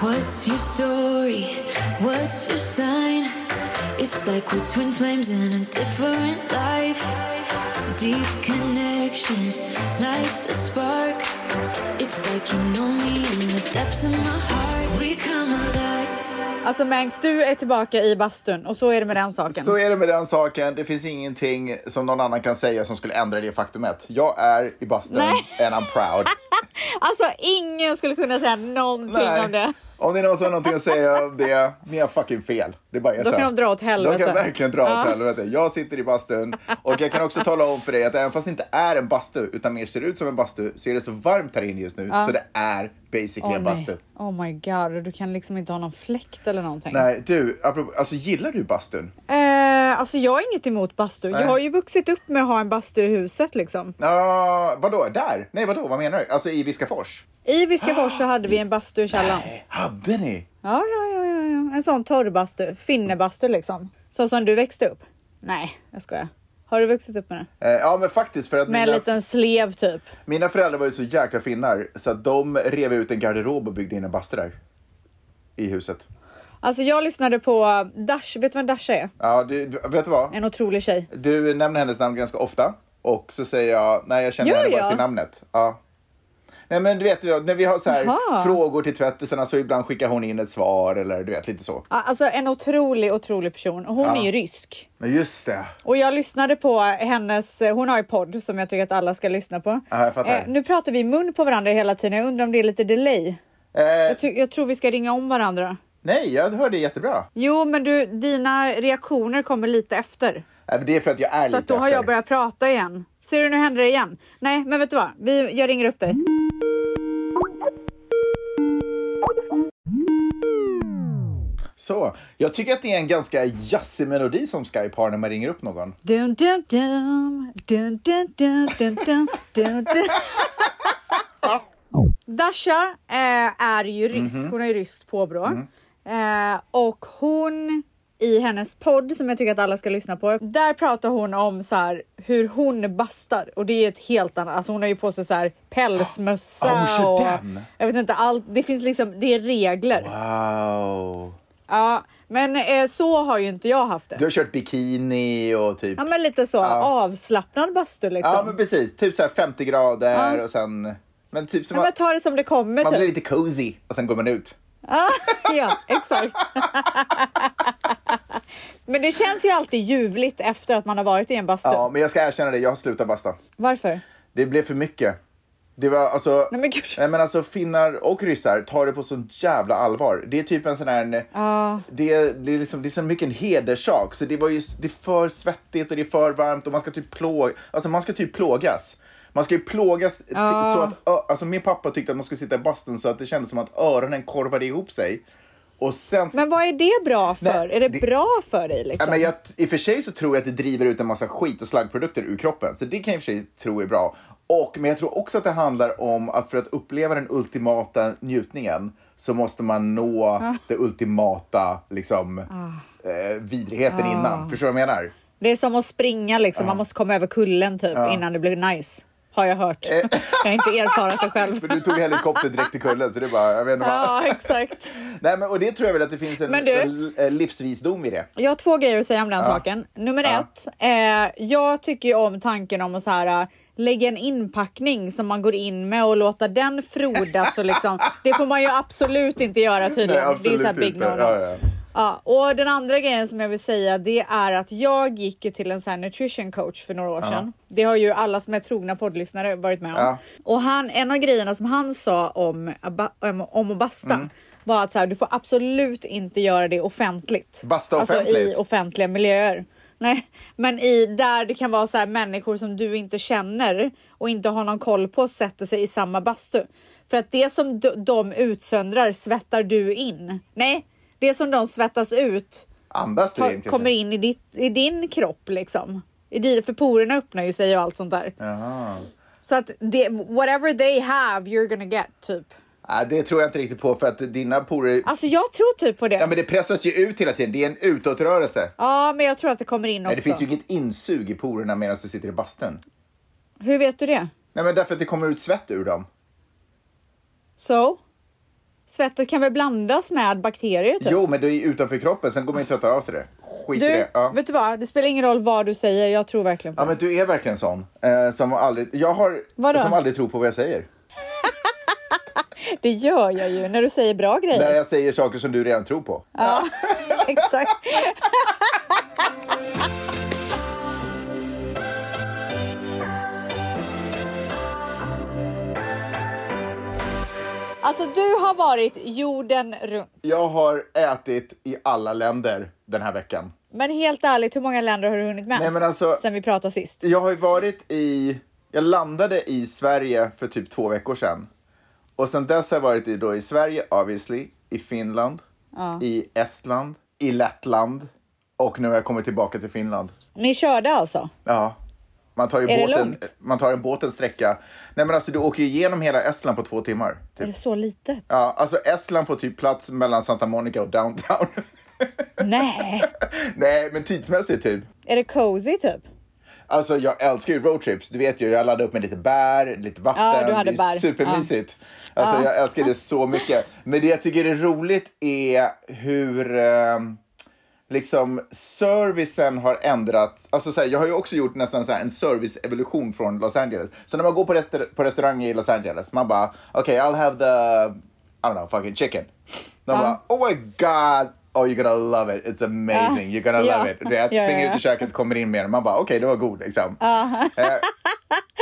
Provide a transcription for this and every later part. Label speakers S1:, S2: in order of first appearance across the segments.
S1: What's your story? What's your sign? It's like we're twin flames in a different life. Deep connection lights a spark. It's like you know me in the depths of my heart. We come alive.
S2: Alltså Mangs, du är tillbaka i bastun och så är det med den saken.
S3: Så är det med den saken. Det finns ingenting som någon annan kan säga som skulle ändra det faktumet. Jag är i bastun
S2: Nej.
S3: and I'm proud.
S2: Alltså ingen skulle kunna säga någonting om det.
S3: Om det är någon som har någonting att säga om det, ni har fucking fel. Det bara är
S2: Då
S3: så.
S2: kan de dra åt helvete.
S3: De kan verkligen dra åt
S2: Ja.
S3: helvete. Jag sitter i bastun och jag kan också tala om för dig att även fast det inte är en bastu utan mer ser ut som en bastu så är det så varmt här inne just nu så det är basically
S2: Åh,
S3: en
S2: nej.
S3: bastu.
S2: Oh my god, du kan liksom inte ha någon fläkt eller någonting.
S3: Nej, du, apropå, alltså gillar du bastun?
S2: Eh, alltså jag har inget emot bastu.
S3: Nej.
S2: Jag har ju vuxit upp med att ha en bastu i huset liksom.
S3: Ja, vadå, där? Nej, vadå, vad menar du? Alltså i Viskafors?
S2: I Viskafors så hade vi en bastu i källaren.
S3: Nej, hade ni?
S2: Ja, ja, ja, ja, ja. En sån torrbastu, finnebastu liksom. Så som du växte upp. Nej, jag skojar. Har du vuxit upp med det?
S3: Eh, Ja men faktiskt för att
S2: Med en
S3: mina,
S2: liten slev typ.
S3: mina föräldrar var ju så jäkla finnar så att de rev ut en garderob och byggde in en bastu där. I huset.
S2: Alltså jag lyssnade på Dash, vet du vem Dash är?
S3: Ja, du, du- vet du vad?
S2: En otrolig tjej.
S3: Du nämner hennes namn ganska ofta och så säger jag nej jag känner
S2: Gör
S3: henne bara
S2: jag?
S3: till namnet. Ja. Nej men du vet, när vi har så här
S2: Jaha.
S3: frågor till tvättisarna så ibland skickar hon in ett svar eller du vet lite så.
S2: Ja, Alltså en otrolig, otrolig person. Hon är ju rysk.
S3: Men just det.
S2: Och jag lyssnade på hennes, eh, hon har ju podd som jag tycker att alla ska lyssna på. Eh,
S3: Ja, jag fattar.
S2: nu pratar vi i mun på varandra hela tiden, jag undrar om det är lite delay.
S3: Eh,
S2: Jag, ty- jag tror vi ska ringa om varandra.
S3: nej, jag hörde jättebra.
S2: Jo, men du, dina reaktioner kommer lite efter.
S3: Nej, Eh, men det är för att jag är
S2: Så att
S3: lite
S2: då har
S3: efter.
S2: jag börjat prata igen. Ser du, nu händer det igen. Nej, men vet du vad? Vi, jag ringer upp dig.
S3: Så, jag tycker att det är en ganska jazzig melodi som Skype har när man ringer upp någon.
S2: Dun, dun, dun, dun, dun, dun, dun, dun, dun, dun. Dasha eh, är ju rysk,
S3: Mhm.
S2: hon är ju ryskt påbrå. Eh, och hon, i hennes podd som jag tycker att alla ska lyssna på, där pratar hon om så här, hur hon bastar. Och det är ett helt annat, alltså hon har ju på sig så här pälsmössa
S3: Ja, Ah, hon kör
S2: och
S3: den.
S2: jag vet inte allt, det finns liksom, det är regler.
S3: Wow.
S2: Ja, men eh, så har ju inte jag haft det.
S3: Du har kört bikini och typ...
S2: Ja men lite så avslappnad bastu liksom.
S3: Ja, men precis. Typ så här 50 grader och sen... Men typ som
S2: Ja, men
S3: man,
S2: ta det som det kommer
S3: man blir
S2: typ.
S3: lite cozy och sen går man ut.
S2: Ja, ja, exakt. men det känns ju alltid ljuvligt efter att man har varit i en bastu.
S3: Ja, men jag ska erkänna det, jag har slutat basta.
S2: Varför?
S3: Det blev för mycket. Det var alltså...
S2: Nej men gud.
S3: Nej men alltså finnar och ryssar tar det på sånt jävla allvar. Det är typ en sån här...
S2: Ja.
S3: Det, är- det, är liksom, det är så mycket en hederssak. Så det, var ju, det är för svettigt och det är för varmt och man ska typ, plå, alltså man ska typ plågas. Man ska ju plågas t-
S2: Ja.
S3: så att... ö- Alltså min pappa tyckte att man skulle sitta i bastun så att det kändes som att öronen korvade ihop sig. Och sen...
S2: Men vad är det bra för?
S3: Nej,
S2: är det,
S3: det-
S2: bra för dig
S3: Ja,
S2: liksom?
S3: men jag, I och för sig så tror jag att det driver ut en massa skit och slaggprodukter ur kroppen, så det kan jag i och för sig tro är bra. Och, men jag tror också att det handlar om att för att uppleva den ultimata njutningen så måste man nå
S2: Ah.
S3: det ultimata liksom, eh, vidrigheten
S2: Ah.
S3: innan. Förstår du vad jag menar?
S2: Det är som att springa liksom, man måste komma över kullen typ innan det blir nice. Har jag hört.
S3: Eh.
S2: jag har inte erfarit det själv.
S3: För du tog helikoptern direkt till kullen, så det är bara, jag vet inte vad.
S2: ja, exakt.
S3: Nej, men, och det tror jag väl att det finns en,
S2: Ah. Men du-
S3: en, en livsvisdom i det.
S2: Jag har två grejer att säga om den saken. Nummer ett, eh, jag tycker ju om tanken om att så här, eh, lägga en inpackning som man går in med och låta den frodas. Och liksom, det får man ju absolut inte göra tydligen.
S3: Nej,
S2: det är
S3: Eh, absolut
S2: så här big
S3: inte.
S2: no no.
S3: Ja, ja.
S2: Ja, och den andra grejen som jag vill säga det är att jag gick ju till en sån här nutrition coach för några år sedan. Det har ju alla som är trogna poddlyssnare varit med om.
S3: Ja.
S2: Och han, en av grejerna som han sa om, abba- om, om att basta
S3: Mm.
S2: var att så här, du får absolut inte göra det offentligt.
S3: Basta
S2: Alltså
S3: offentligt.
S2: i offentliga miljöer. Nej, men i, där det kan vara så här, människor som du inte känner och inte har någon koll på sätter sig i samma bastu. För att det som d- de utsöndrar svettar du in. Nej, det som de svettas ut
S3: Andas du
S2: ta,
S3: in, kanske?
S2: kommer in i, ditt, i din kropp liksom. I din, för porerna öppnar ju sig och allt sånt där.
S3: Jaha.
S2: Så att det, whatever they have you're gonna get typ.
S3: Nej, det tror jag inte riktigt på, för att dina porer
S2: Alltså jag tror typ på det.
S3: Ja, men det pressas ju ut hela tiden. Det är en utåtrörelse.
S2: jag tror att det kommer in också.
S3: Nej, det finns ju inget insug i porerna medan du sitter i bastun.
S2: Hur vet du det?
S3: Nej, men därför att det kommer ut svett ur dem.
S2: So? Svettet kan väl blandas med bakterier? Typ.
S3: Jo, men det är ju utanför kroppen. Sen går man ju tvätta av sig det. Skit
S2: du,
S3: i det. Ja.
S2: vet du vad? Det spelar ingen roll vad du säger. Jag tror verkligen på
S3: ja,
S2: det.
S3: men du är verkligen sån. Eh, som aldrig, jag har,
S2: Vadå?
S3: som aldrig tror på vad jag säger.
S2: Det gör jag ju när du säger bra grejer.
S3: När jag säger saker som du redan tror på.
S2: Ja, exakt. Alltså du har varit jorden runt.
S3: Jag har ätit i alla länder den här veckan.
S2: Men helt ärligt, hur många länder har du hunnit med?
S3: Nej, men alltså,
S2: Sen vi pratade sist.
S3: jag har ju varit i... Jag landade i Sverige för typ två veckor sedan. Och sen dess har jag varit i, då, i Sverige, obviously, i Finland, i Estland, i Lettland och nu har jag kommit tillbaka till Finland.
S2: Ni körde alltså?
S3: Ja. Man tar ju
S2: Är det
S3: båten,
S2: långt?
S3: man tar en båt en sträcka. Nej men alltså du åker ju igenom hela Estland på två timmar.
S2: Är
S3: Typ.
S2: det så litet?
S3: Ja, alltså Estland får typ plats mellan Santa Monica och downtown.
S2: Nej.
S3: Nej, men tidsmässigt typ.
S2: Är det cozy typ?
S3: Alltså jag älskar ju roadtrips. Du vet ju, jag laddade upp med lite bär, lite vatten.
S2: Ja, du hade
S3: det är
S2: bär.
S3: supermysigt. Alltså jag älskar det så mycket. Men det jag tycker är roligt är hur eh, liksom servicen har ändrats. Alltså så här, jag har ju också gjort nästan så här, en serviceevolution från Los Angeles. Så när man går på, rester- på restaurang i Los Angeles, man bara okej, okay, I'll have the, I don't know, fucking chicken. De bara oh my god, oh you're gonna love it, it's amazing, you're gonna
S2: Ah, Ja.
S3: love it. Det är att
S2: Ja, ja,
S3: springa ut
S2: ja.
S3: i köket kommer in med den. Man bara okej, det var god liksom. Eh,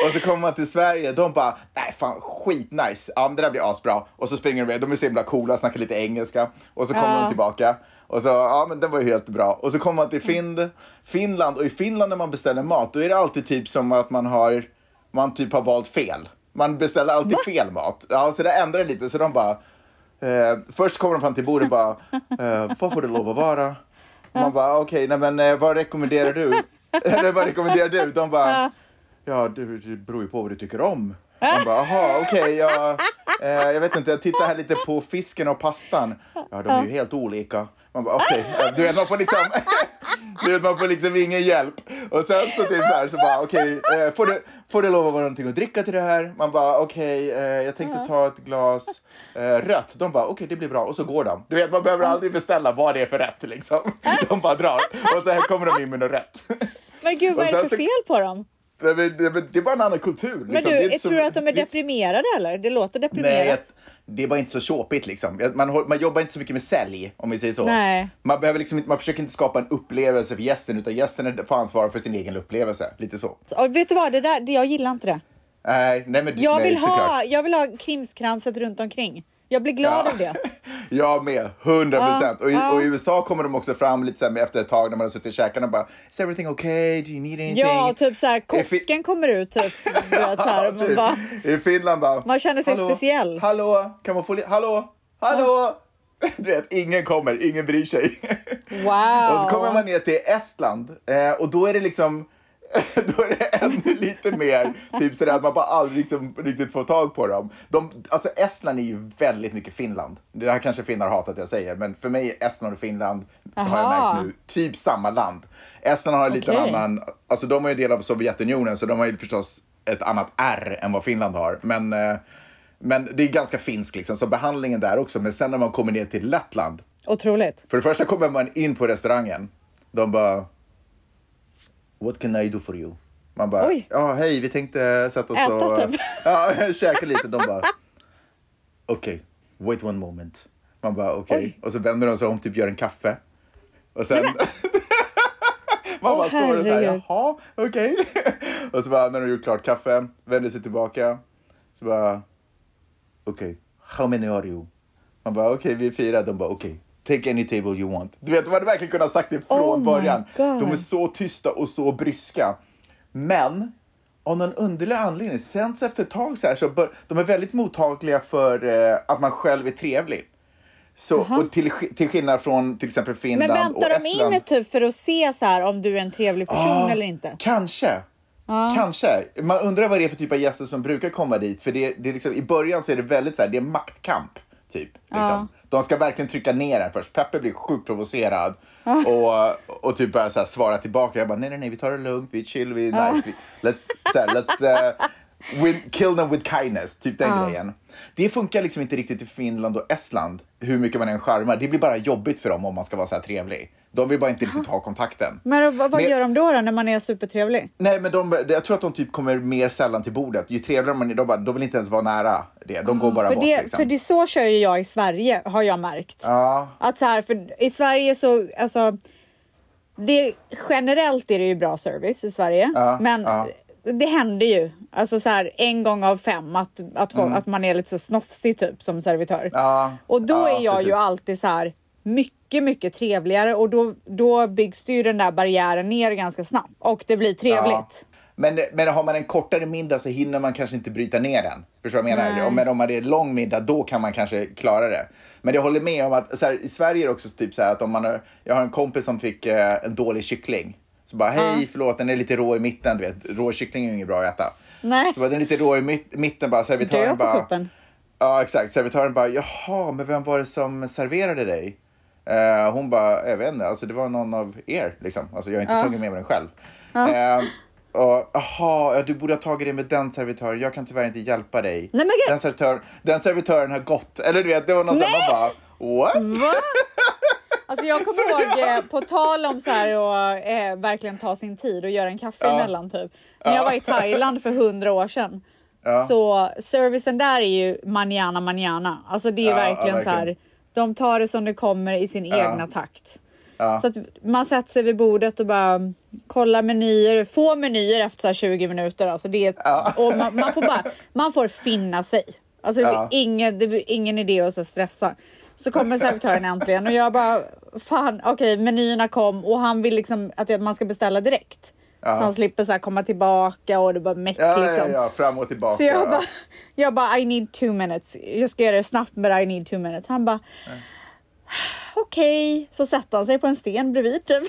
S3: och så kommer man till Sverige, de bara nej fan skitnice, ja men det där blir asbra. Och så springer de med, de är så himla coola, snackar lite engelska. Och så kommer
S2: Ja.
S3: de tillbaka. Och så, ja men den var ju helt bra. Och så kommer man till Find, Finland och i Finland när man beställer mat då är det alltid typ som att man har, man typ har valt fel. Man beställer alltid fel mat. Ja, så det ändrar lite så de bara Eh, först kommer de fram till bordet och bara, eh, vad får det lov att vara? Man bara, okej, nej men eh, vad rekommenderar du? Eller vad rekommenderar du? De bara, ja det, det beror ju på vad du tycker om. Man bara, jaha, okej, jag, eh, jag vet inte, jag tittar här lite på fisken och pastan. Ja, de är ju helt olika. Man bara, okej, eh, du vet, man får liksom, du vet, man får liksom ingen hjälp. Och sen så typ så här, så bara, okej, eh, får du Får det lov att vara någonting att dricka till det här? Man bara okej, eh, jag tänkte ta ett glas eh, rött. De bara okej, det blir bra och så går de. Du vet, man behöver aldrig beställa vad det är för rätt liksom. De bara drar och så här kommer de in med något rätt.
S2: Men gud,
S3: Och
S2: vad är
S3: sen
S2: det för
S3: så-
S2: fel på dem?
S3: Nej, men, nej, men det är bara en annan kultur. Liksom.
S2: Men
S3: Det
S2: du,
S3: inte så-
S2: tror du att de är
S3: det inte-
S2: deprimerade eller? Det låter deprimerat.
S3: Nej, jag, det är bara inte så tjåpigt liksom. Jag- Man, hå- man jobbar inte så mycket med sälj, om vi säger så.
S2: Nej.
S3: Man, behöver liksom, inte- man försöker inte skapa en upplevelse för gästen, utan gästen är- får ansvara för sin egen upplevelse. Lite så.
S2: Och vet du vad, det där, det, jag gillar inte det.
S3: Nej, nej men
S2: Jag,
S3: nej,
S2: vill,
S3: såklart.
S2: ha, jag vill ha krimskramset runt omkring. Jag blir glad av det.
S3: Jag med, 100 procent.
S2: Ja,
S3: och, i-
S2: ja.
S3: och i USA kommer de också fram lite så här med efter ett tag när man har suttit och käkat och bara Is everything okay? Do you need anything?
S2: Ja, typ så här,
S3: If it-
S2: kocken kommer ut typ. Du vet, så här, och man
S3: Typ.
S2: bara,
S3: I Finland bara...
S2: Man känner sig
S3: "Hallå?
S2: speciell."
S3: Hallå, kan man få lite... Hallå, hallå! Du vet, ingen kommer, ingen bryr sig.
S2: wow.
S3: Och så kommer man ner till Estland eh, och då är det liksom då är det ännu lite mer typ sådär att man bara aldrig liksom, riktigt får tag på dem. De, alltså Estland är ju väldigt mycket Finland. Det här kanske finnar hatar att jag säger, men för mig är Estland och Finland, har jag
S2: Aha.
S3: märkt nu, typ samma land. Estland har en liten
S2: Okej.
S3: annan, alltså de är ju del av Sovjetunionen så de har ju förstås ett annat R än vad Finland har. Men, eh, men det är ganska finsk liksom, så behandlingen där också. Men sen när man kommer ner till Lettland,
S2: Otroligt.
S3: för det första kommer man in på restaurangen. De bara... What can I do for you? Man bara,
S2: Oj.
S3: ja hej, vi tänkte sätta oss
S2: Äta,
S3: och
S2: typ.
S3: ja, käka lite. De bara, okej, wait one moment. Man bara, okej.
S2: Oj.
S3: Och så vänder de sig om, typ gör en kaffe. Och sen... man
S2: Åh,
S3: bara står och så här,
S2: herregud.
S3: jaha, okej. och så bara, när de gjort klart kaffe, vänder sig tillbaka. Så bara, okej, how many are you? Man bara, okej, vi är fyra. De bara, okej, take any table you want. Du vet, de hade verkligen kunnat sagt det från
S2: Oh my
S3: början.
S2: God.
S3: De är så tysta och så bryska. Men, av någon underlig anledning, sen så efter ett tag så här, så bör, de är väldigt mottagliga för eh, att man själv är trevlig. Så, och till, sk- till skillnad från till exempel
S2: Men
S3: Finland och
S2: väntar de
S3: Estland. Ah.
S2: in typ för att se så här, om du är en trevlig person
S3: Ja,
S2: eller inte?
S3: Kanske. Kanske. Man undrar vad det är för typ av gäster som brukar komma dit. För det, det är liksom, I början så är det väldigt så här, det är maktkamp. Typ, liksom. De ska verkligen trycka ner den först. Peppe blir sjukt provocerad och, och typ börjar så här, svara tillbaka. Jag bara, nej, nej, nej, vi tar det lugnt, vi är chill, vi är nice. Vi, let's, så här, let's, eh, With, kill them with kindness, typ den
S2: Ja.
S3: grejen. Det funkar liksom inte riktigt i Finland och Estland, hur mycket man än charmar. Det blir bara jobbigt för dem om man ska vara så här trevlig. De vill bara inte riktigt ha kontakten.
S2: Men då, vad, vad
S3: Men-
S2: gör de då, då när man är supertrevlig?
S3: Nej, men de, jag tror att de typ kommer mer sällan till bordet. Ju trevligare man är, de, bara, de vill inte ens vara nära det. De går bara
S2: Ah, För
S3: bort.
S2: det,
S3: liksom.
S2: för det så kör ju jag i Sverige har jag märkt.
S3: Ja,
S2: Att så här, för i Sverige så, alltså. Det, generellt är det ju bra service i Sverige,
S3: Ja,
S2: men
S3: ja.
S2: det händer ju. Alltså så här, en gång av fem att, att, folk, att man är lite så snofsig typ som servitör.
S3: Mm. Ja,
S2: och då
S3: ja,
S2: är jag
S3: precis.
S2: ju alltid så här mycket, mycket trevligare och då, då byggs det ju den där barriären ner ganska snabbt och det blir trevligt.
S3: Ja. Men, men har man en kortare middag så hinner man kanske inte bryta ner den. Förstår du vad jag menar?
S2: Nej.
S3: Och Men om man är en lång middag, då kan man kanske klara det. Men jag håller med om att så här, i Sverige är det också typ så här att om man har, jag har en kompis som fick eh, en dålig kyckling. Så bara, hej,
S2: Ah.
S3: förlåt, den är lite rå i mitten, du vet. Rå kyckling är ju inget bra att äta.
S2: Nej.
S3: Så var den lite rå i mitt, mitten, bara
S2: Dö
S3: servitören
S2: på
S3: bara...
S2: kuppen.
S3: Ja, exakt. Servitören bara, jaha, men vem var det som serverade dig? Eh, hon bara, jag vet inte, alltså det var någon av er liksom. Alltså jag har inte tagit med mig den själv. Eh, och, Jaha, ja, du borde ha tagit det med den servitören. Jag kan tyvärr inte hjälpa dig.
S2: men gud!
S3: den, servitören, den servitören har gått. Eller du vet, det var någon som man bara, what?
S2: Va? Alltså jag kommer ihåg, eh, på tal om så här och eh, verkligen ta sin tid och göra en kaffe emellan typ. När jag var i Thailand för hundra år sedan. Så servicen där är ju manjana manjana. Alltså det är ju
S3: Ja, ja,
S2: verkligen, så här.
S3: verkligen.
S2: De tar det som det kommer i sin egna takt.
S3: Ja.
S2: Så att man sätter sig vid bordet och bara kollar menyer, få menyer efter så här 20 minuter. Alltså det är, och man, man, får bara, man får finna sig. Alltså det blir,
S3: Ja.
S2: ingen, det blir ingen idé att så stressa. Så kommer servitören äntligen och jag bara, fan okej menyerna kom och han vill liksom att jag- man ska beställa direkt. Så han slipper så här komma tillbaka och det bara meck
S3: Ja,
S2: liksom.
S3: ja, ja, fram och tillbaka.
S2: Så jag bara, jag bara I need two minutes. Jag ska göra det snabbt men I need two minutes. Han bara okej. Så satte han sig på en sten bredvid typ.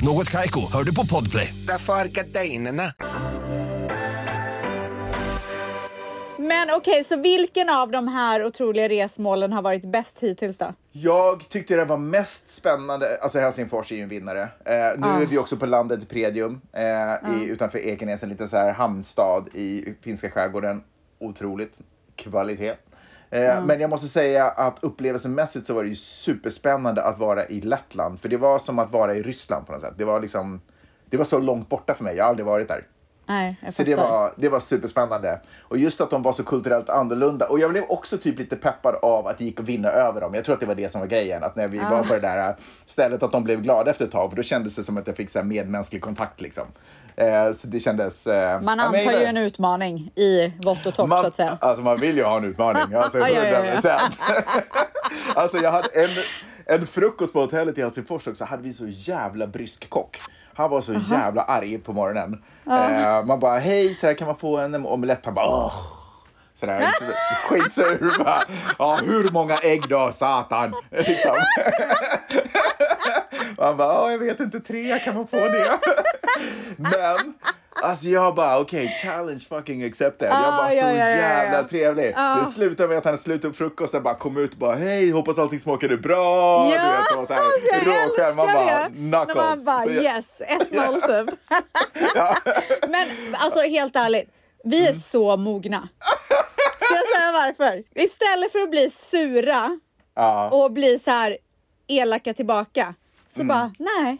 S4: Något Kaiko, hör du på Podplay.
S5: Därför arkadeinerna.
S2: Men okej, så vilken av de här otroliga resmålen har varit bäst hittills då?
S3: Jag tyckte det var mest spännande, alltså Helsingfors är ju en vinnare. Eh, nu är vi också på landet Predium eh, i, utanför Ekenäs, en liten så här hamnstad i finska skärgården. Otroligt kvalitet. Eh, Men jag måste säga att upplevelsemässigt så var det ju superspännande att vara i Lettland. För det var som att vara i Ryssland på något sätt. Det var liksom, det var så långt borta för mig, jag har aldrig varit där.
S2: Nej, jag
S3: Så
S2: fattar.
S3: det var, det var superspännande. Och just att de var så kulturellt annorlunda. Och jag blev också typ lite peppad av att det gick att vinna över dem. Jag tror att det var det som var grejen. Att när vi
S2: Ah.
S3: var på det där äh, stället att de blev glada efter ett tag. För då kändes det som att jag fick så här medmänsklig kontakt liksom. Eh, så det kändes...
S2: Man
S3: Eh, ja, men jag
S2: antar ju
S3: gillar
S2: en
S3: det.
S2: utmaning i vått och torrt
S3: Man-
S2: så att säga.
S3: Alltså man vill ju ha en utmaning. Alltså,
S2: Ja, ja, ja.
S3: 100%. alltså jag hade en, en frukost på hotellet i Helsingfors också. Hade vi så jävla brysk kock. Han var så jävla arg på morgonen. Eh, man bara, hej, så här kan man få en omelett? Han bara, åh. Sådär, skitsur. Bara, Ja, hur många ägg då, satan? Liksom. Och han bara, "Ja, jag vet inte, tre, kan man få det? Men, alltså jag bara, okej, challenge fucking accepted. jag
S2: Ah,
S3: bara, så
S2: ja, ja, ja, ja.
S3: jävla trevlig.
S2: Ah.
S3: Det slutade med att han slutade upp frukosten, bara kom ut och bara, hej, hoppas allting smakade bra.
S2: Ja,
S3: du vet, det var
S2: alltså,
S3: så
S2: jag
S3: här, råskärm. Man
S2: älskar
S3: bara,
S2: det.
S3: knuckles.
S2: När man bara
S3: Så jag-
S2: yes, 1-0 typ. Men alltså helt ärligt, vi är
S3: Mm.
S2: så mogna. Ska jag säga varför? Istället för att bli sura
S3: Ja. Mm.
S2: och bli så här elaka tillbaka så bara nej,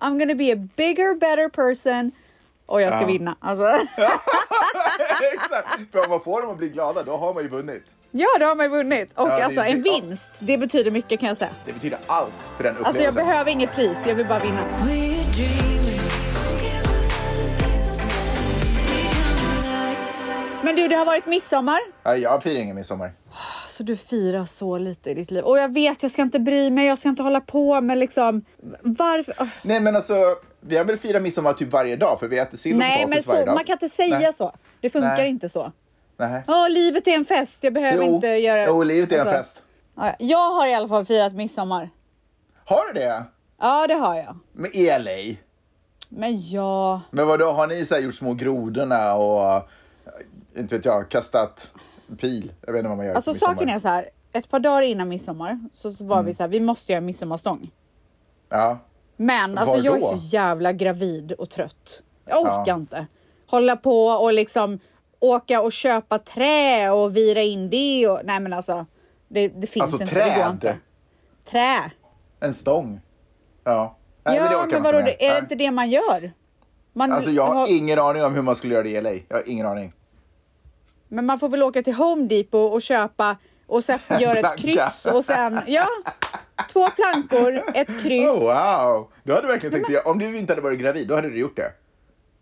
S2: I'm gonna be a bigger better person och jag ska vinna. Alltså,
S3: Exakt, för om man får dem att bli glada, då har man ju vunnit.
S2: ja, då har man ju vunnit. Och
S3: Ja, det-
S2: alltså en
S3: ja.
S2: vinst, det betyder mycket kan jag säga.
S3: Det betyder allt för den upplevelsen.
S2: Alltså jag behöver inget pris, jag vill bara vinna.
S1: We're dreamers. Don't care what other people say. We come alive.
S2: Men du, det har varit midsommar.
S3: Ja, jag firar ingen midsommar.
S2: Alltså du firar så lite i ditt liv. Och jag vet, jag ska inte bry mig, jag ska inte hålla på med liksom... Varför? Åh.
S3: Nej, men alltså, vi har väl firat midsommar typ varje dag för vi äter sill och
S2: Ah, Nej, men
S3: potatis
S2: så,
S3: varje dag.
S2: man kan inte säga
S3: Nej.
S2: så. Det funkar
S3: Nej.
S2: inte så.
S3: Nej.
S2: Åh, livet är en fest, jag behöver
S3: Jo,
S2: inte göra...
S3: jo, livet är en
S2: Alltså,
S3: fest.
S2: ja, Jag har i alla fall firat midsommar.
S3: Har du det?
S2: Ja, det har jag.
S3: Med LA?
S2: Men ja...
S3: Men vadå, har ni så här gjort små grodorna och eh, inte vet jag, kastat pil? Jag vet inte vad man gör
S2: Alltså
S3: på midsommar. Mm.
S2: saken är så här. Ett par dagar innan midsommar så, så var vi så här, vi måste göra midsommarstång.
S3: Ja.
S2: Men alltså
S3: Var
S2: jag är
S3: då?
S2: så jävla gravid och trött. Jag orkar
S3: Ja.
S2: inte. Hålla på och liksom åka och köpa trä och vira in det och nej men alltså. Det, det finns
S3: Alltså
S2: inte, det går
S3: träd.
S2: inte. Trä.
S3: En stång. Ja. Nej,
S2: ja
S3: orkar
S2: men
S3: man
S2: vadå,
S3: inte
S2: det- är det
S3: med.
S2: inte det man gör? Man,
S3: Alltså jag har
S2: har-
S3: ingen aning om hur man skulle göra det i LA. Jag har ingen aning.
S2: Men man får väl åka till Home Depot och köpa och sen göra ett
S3: Planka.
S2: kryss och sen, ja. Två plankor, ett kryss.
S3: Oh, wow! Du hade verkligen tänkt göra- Om du inte hade varit gravid, då hade du gjort det.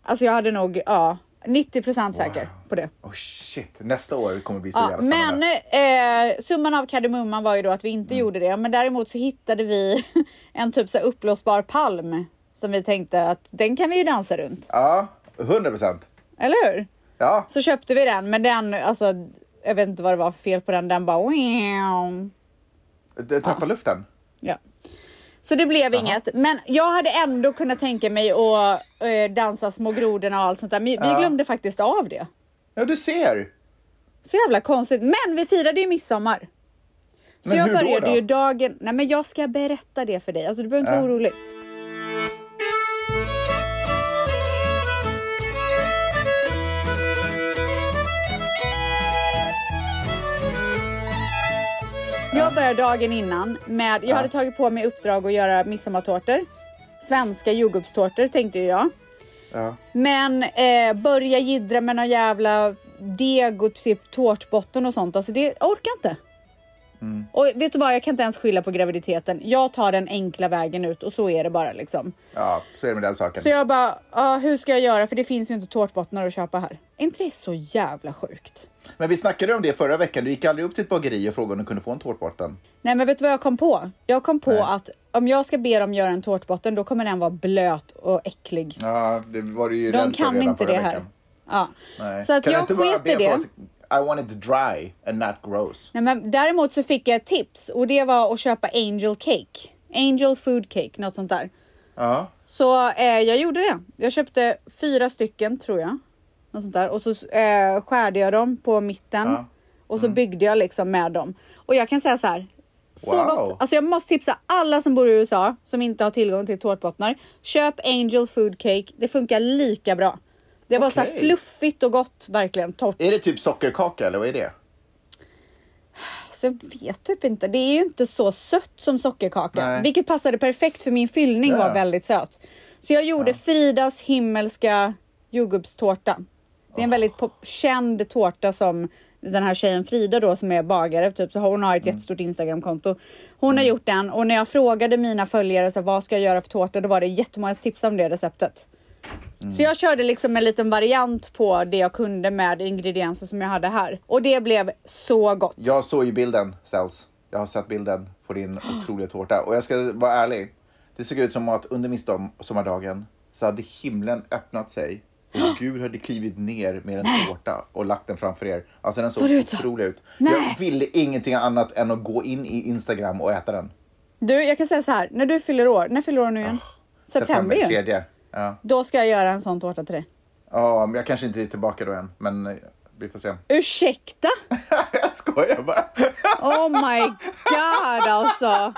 S2: Alltså jag hade nog, ja, 90 procent säker på det.
S3: Oh shit, nästa år kommer bli så
S2: Ja,
S3: jävla
S2: men
S3: spännande.
S2: eh, summan av kardemumman var ju då att vi inte gjorde det, men däremot så hittade vi en typ så här uppblåsbar palm som vi tänkte att den kan vi ju dansa runt,
S3: Ja, 100 procent.
S2: eller hur?
S3: Ja,
S2: Så köpte vi den, men den, alltså, jag vet inte vad det var för fel på den, den bara wow.
S3: det tappar luften.
S2: Ja. Så det blev inget, men jag hade ändå kunnat tänka mig att eh, dansa små grodorna och allt sånt där, men vi glömde faktiskt av det.
S3: Ja, du ser!
S2: Så jävla konstigt. Men vi firade ju midsommar. Så
S3: Men
S2: jag
S3: hur då
S2: började
S3: då?
S2: ju dagen... Nej men jag ska berätta det för dig. Alltså du behöver inte vara orolig. Jag började dagen innan med... Jag hade tagit på mig uppdrag att göra midsommartårtor. Svenska jordgubbstårtor tänkte ju jag.
S3: Ja.
S2: Men eh, börja jiddra med någon jävla deg och typ tårtbotten och sånt. Alltså det jag orkar inte.
S3: Mm.
S2: Och vet du vad, jag kan inte ens skylla på graviditeten. Jag tar den enkla vägen ut och så är det bara liksom.
S3: ja, så är det med den saken.
S2: Så jag bara, ah, hur ska jag göra? För det finns ju inte tårtbottnar att köpa här. Är inte det så jävla sjukt?
S3: Men vi snackade om det förra veckan. Du gick aldrig upp till ett bageri och frågade om du kunde få en tårtbotten.
S2: Nej men vet du vad jag kom på? Jag kom på att om jag ska be dem göra en tårtbotten då kommer den vara blöt och äcklig.
S3: Ja, det var du ju
S2: De
S3: rädd för
S2: kan
S3: redan
S2: inte
S3: förra
S2: det här.
S3: veckan.
S2: Ja.
S3: Nej.
S2: Så att
S3: kan du
S2: jag
S3: inte bara
S2: sket i
S3: be
S2: det.
S3: för oss, I want it dry and not gross.
S2: Nej, men däremot så fick jag ett tips och det var att köpa angel cake. Angel food cake, något sånt där.
S3: Ja,
S2: Så eh, jag gjorde det. Jag köpte fyra stycken tror jag. Något sånt där. Och så eh, skärde jag dem på mitten.
S3: Ja. Mm.
S2: Och så byggde jag liksom med dem. Och jag kan säga så här. Så
S3: Wow.
S2: gott. Alltså jag måste tipsa alla som bor i USA som inte har tillgång till tårtbottnar. Köp angel food cake. Det funkar lika bra. Det var så här
S3: Okej.
S2: fluffigt och gott verkligen. Torrt.
S3: är det typ sockerkaka eller vad är det?
S2: Så jag vet typ inte. Det är ju inte så sött som sockerkaka,
S3: Nej.
S2: vilket passade perfekt för min fyllning
S3: Ja.
S2: var väldigt söt. Så jag gjorde Fridas himmelska jordgubbstårta. Det är en väldigt pop- känd tårta som den här tjejen Frida då som är bagare, typ, så hon har ett
S3: Mm.
S2: jättestort Instagramkonto. Hon har gjort den och när jag frågade mina följare så här, vad ska jag göra för tårta, då var det jättemånga tips om det receptet.
S3: Mm.
S2: Så jag körde liksom en liten variant på det jag kunde med ingredienser som jag hade här. Och det blev så gott.
S3: Jag såg ju bilden, Sells. Jag har sett bilden på din otroliga tårta. Och jag ska vara ärlig. Det såg ut som att under midsommardagen så hade himlen öppnat sig och Gud hade klivit ner med en tårta och lagt den framför er. Alltså den såg
S2: Såg det ut så?
S3: otrolig ut.
S2: Nej.
S3: Jag ville ingenting annat än att gå in i Instagram och äta den.
S2: Du, jag kan säga så här. När du fyller år, när fyller år nu igen? september ju.
S3: Ah, tredje. Ja.
S2: Då ska jag göra en sån tårta till dig.
S3: ja, men jag kanske inte är tillbaka då än, men eh, vi får se.
S2: Ursäkta?
S3: jag skojar bara.
S2: Oh my god alltså.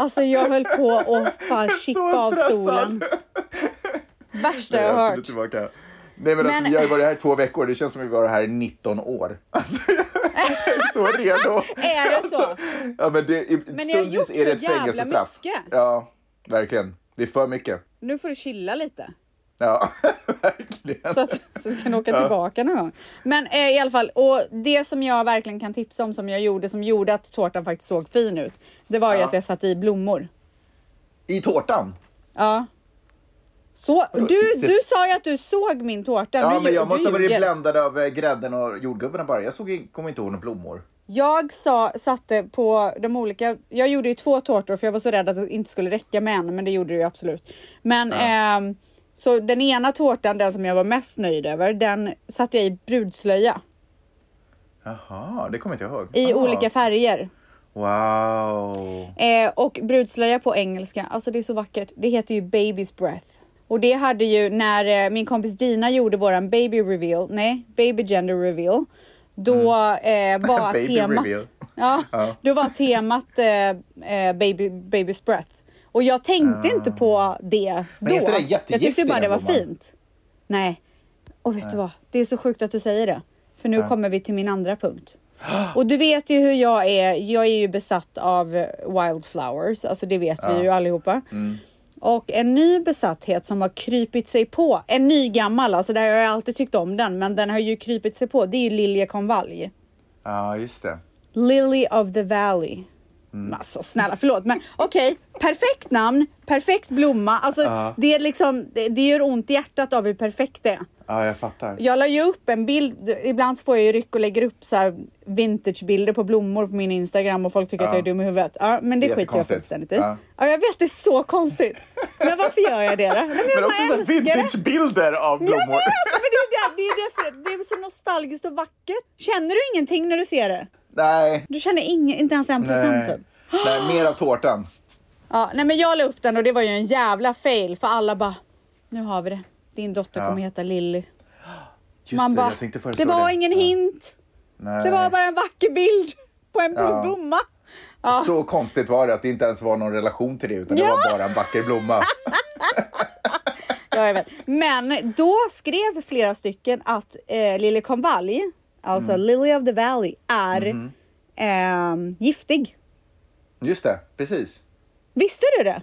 S2: Alltså jag höll på att fan chippa av stolen. Värsta jag har
S3: Nej, alltså, absolut
S2: hört.
S3: tillbaka. Nej, men,
S2: Men-
S3: Alltså, vi har ju varit här i två veckor. Det känns som vi var här i 19 år. Alltså, jag är så redo.
S2: Är det
S3: Alltså.
S2: så?
S3: Ja, men det, i,
S2: har
S3: stundvis
S2: gjort
S3: är det
S2: så
S3: ett
S2: jävla
S3: fängelsestraff.
S2: mycket.
S3: Ja, verkligen. Det är för mycket.
S2: Nu får du chilla lite.
S3: Ja, verkligen.
S2: Så att så du kan åka tillbaka någon gång. Men eh, i alla fall, och det som jag verkligen kan tipsa om som jag gjorde som gjorde att tårtan faktiskt såg fin ut. Det var ju att jag satte i blommor.
S3: I tårtan?
S2: Ja. Så, du, du sa ju att du såg min tårta.
S3: Ja,
S2: nu
S3: men
S2: lju-
S3: jag
S2: du
S3: måste ha varit
S2: ljuger.
S3: bländad av eh, grädden och jordgubbarna bara. Jag såg in- kom inte ihåg några blommor.
S2: Jag sa, satte på de olika, jag gjorde ju två tårtor för jag var så rädd att det inte skulle räcka med en, men det gjorde det ju absolut. Men ehm, så den ena tårtan, den som jag var mest nöjd över, den satte jag i brudslöja
S3: Jaha, det kommer inte jag ihåg.
S2: i
S3: Ah,
S2: olika färger.
S3: Wow.
S2: Eh, och brudslöja på engelska, alltså det är så vackert. Det heter ju baby's breath. Och det hade ju när eh, min kompis Dina gjorde våran baby reveal, nej, baby gender reveal. Då eh, var
S3: Mm. Baby
S2: temat...
S3: reveal.
S2: Ja,
S3: Ja.
S2: då var temat eh, eh, baby, baby's breath. Och jag
S3: Ah.
S2: tänkte inte på det
S3: Men
S2: då.
S3: heter det
S2: jag tyckte bara det var
S3: jättegiftiga blomman?
S2: fint. Nej. Och vet du vad? Det är så sjukt att du säger det. För nu kommer vi till min andra punkt. Och du vet ju hur jag är. Jag är ju besatt av eh, wildflowers. Alltså det vet vi ju allihopa.
S3: Mm.
S2: Och en ny besatthet som har krypit sig på. En ny gammal, alltså det har jag alltid tyckt om den. Men den har ju krypit sig på. Det är ju liljekonvalj.
S3: Ja, just det.
S2: Lily of the
S3: Mm.
S2: Valley. Alltså snälla förlåt men okej, perfekt namn, perfekt blomma. Alltså det är liksom, det, det gör ont i hjärtat av hur perfekt det är.
S3: Ja, jag fattar.
S2: Jag la ju upp en bild, ibland så får jag ju ryck och lägger upp så här vintagebilder på blommor på min Instagram och folk tycker att jag är dum i huvudet. Ja, men det,
S3: Det är
S2: skiter jag
S3: jättekonstigt.
S2: fullständigt i.
S3: Ja.
S2: Ja. jag vet det är så konstigt. Men varför gör jag det då? Nej,
S3: Men
S2: jag bara
S3: också så här
S2: älskar det.
S3: vintagebilder av
S2: Jag vet,
S3: blommor.
S2: men det är, ju det, det, är ju därför, det är så nostalgiskt och vackert. Känner du ingenting när du ser det?
S3: Nej.
S2: Du känner ingen, inte ens en procent
S3: Nej.
S2: typ?
S3: Nej, mer av tårtan.
S2: Ja, nej men jag la upp den och det var ju en jävla fail för alla bara, nu har vi det. Din dotter kommer heta Lilly.
S3: Just
S2: Man
S3: det,
S2: bara,
S3: jag tänkte
S2: det
S3: föreslå
S2: var ingen hint.
S3: Nej.
S2: Det var bara en vacker bild på en
S3: Ja.
S2: blomma.
S3: Så konstigt var det att det inte ens var någon relation till det utan det
S2: Ja.
S3: var bara en vacker blomma.
S2: Ja, jag vet. Men då skrev flera stycken att eh, liljekonvalj, alltså
S3: Mm.
S2: Lily of the Valley, är
S3: Mhm.
S2: ehm, giftig.
S3: Just det, precis.
S2: Visste du det?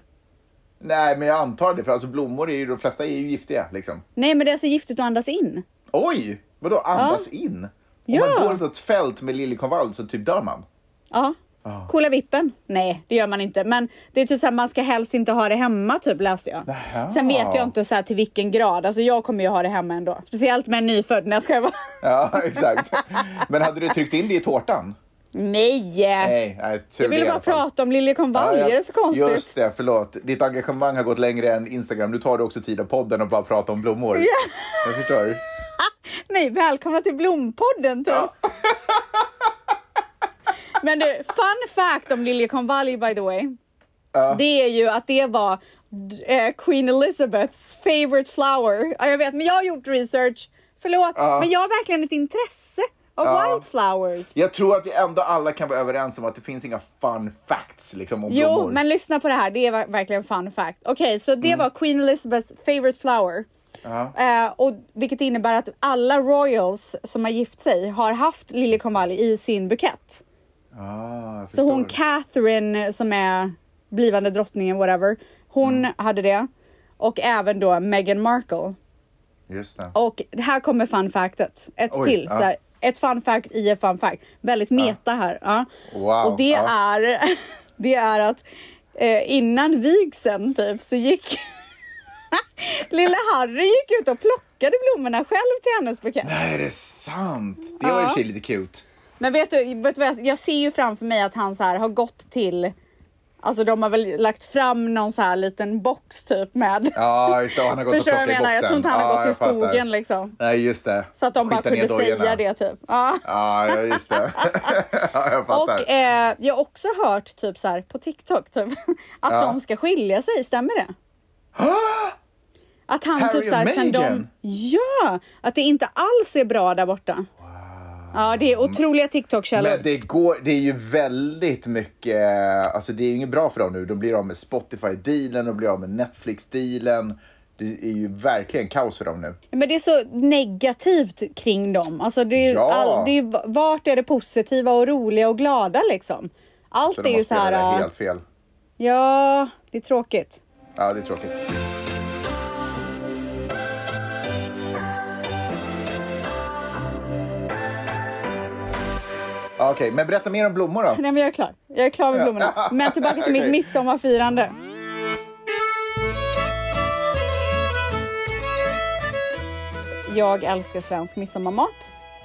S3: Nej, men jag antar det för alltså blommor är ju, de flesta är ju giftiga liksom.
S2: Nej, men det är så giftigt att andas in.
S3: Oj, vadå andas in? Om
S2: Ja.
S3: man går runt ett fält med liljekonvalj så typ dör man.
S2: Ja. Coola vippen? Nej, det gör man inte. Men det är typ så här, man ska helst inte ha det hemma, typ läste jag.
S3: Nähä.
S2: Sen vet jag inte så här, till vilken grad. Alltså jag kommer ju ha det hemma ändå. Speciellt med en nyfödd. När jag ska vara...
S3: Ja, exakt. Men hade du tryckt in det i tårtan?
S2: Nej!
S3: Nej, nej tur
S2: jag ville
S3: det i
S2: bara
S3: alla fall.
S2: prata om liljekonvaljer.
S3: Ja,
S2: Är
S3: jag-
S2: det så konstigt?
S3: Just det, förlåt. Ditt engagemang har gått längre än Instagram. Nu tar du också tid av podden och bara pratar om blommor. Jag förstår.
S2: Nej, välkomna till Blompodden typ. Men du, fun fact om liljekonvalj by the way. Det är ju att det var eh, Queen Elizabeths favorite flower. Ja, jag vet, men jag har gjort research. Förlåt, men jag har verkligen ett intresse av wildflowers.
S3: Jag tror att vi ändå alla kan vara överens om att det finns inga fun facts liksom, om
S2: Jo,
S3: blommor.
S2: men lyssna på det här. Det är ver- verkligen fun fact. Okej, så det var Queen Elizabeths favorite flower. Eh, och, vilket innebär att alla royals som har gift sig har haft liljekonvalj i sin bukett.
S3: Ah, jag
S2: Så hon
S3: förstår.
S2: Catherine som är blivande drottningen, whatever, hon hade det. Och även då Meghan Markle.
S3: Just det.
S2: Och här kommer fun factet. Ett
S3: Oj,
S2: till.
S3: ja.
S2: Så här, ett fun fact i ett fun fact. Väldigt meta här. Ja.
S3: Wow,
S2: Och det
S3: ja.
S2: är, det är att eh, innan vigseln typ så gick lilla Harry gick ut och plockade blommorna själv till hennes bukett.
S3: Nej, är det sant? Det var i och för sig lite cute.
S2: Men vet du, vet du vad jag, jag ser ju framför mig att han så här har gått till Alltså de har väl lagt fram någon så här liten box typ med.
S3: Ja, just det. Han har gått
S2: Förstår du
S3: och
S2: vad jag
S3: plockat
S2: menar?
S3: i boxen.
S2: Jag tror inte han har
S3: Ja,
S2: gått till
S3: jag fattar.
S2: skogen liksom.
S3: Nej, just det.
S2: Så att de bara
S3: Skita ner
S2: kunde säga
S3: dojorna.
S2: det typ. Ja.
S3: Ja, ja, just det. ja, jag fattar.
S2: Och eh, jag har också hört typ så här på TikTok typ, att
S3: Ja.
S2: de ska skilja sig, stämmer det? att han
S3: Harry
S2: typ så här,
S3: och
S2: sen de...
S3: Meghan?
S2: Ja! Att det inte alls är bra där borta. Ja, det är otroliga TikTok-källor.
S3: Men det, går, det är ju väldigt mycket, alltså det är ju inget bra för dem nu. De blir av med Spotify-dealen, de blir av med Netflix-dealen. Det är ju verkligen kaos för dem nu.
S2: Men det är så negativt kring dem. Alltså det är, ju
S3: Ja.
S2: all, det är, ju- vart är det positiva och roliga och glada liksom? Allt
S3: Så
S2: är
S3: de
S2: ju så
S3: måste göra det
S2: här... eh,
S3: helt fel.
S2: Ja, det är tråkigt.
S3: Ja, det är tråkigt. Okej, men berätta mer om blommor då.
S2: Nej, men jag är klar. Jag är klar med blommorna. Men tillbaka till mitt
S3: Okej.
S2: midsommarfirande. jag älskar svensk midsommarmat.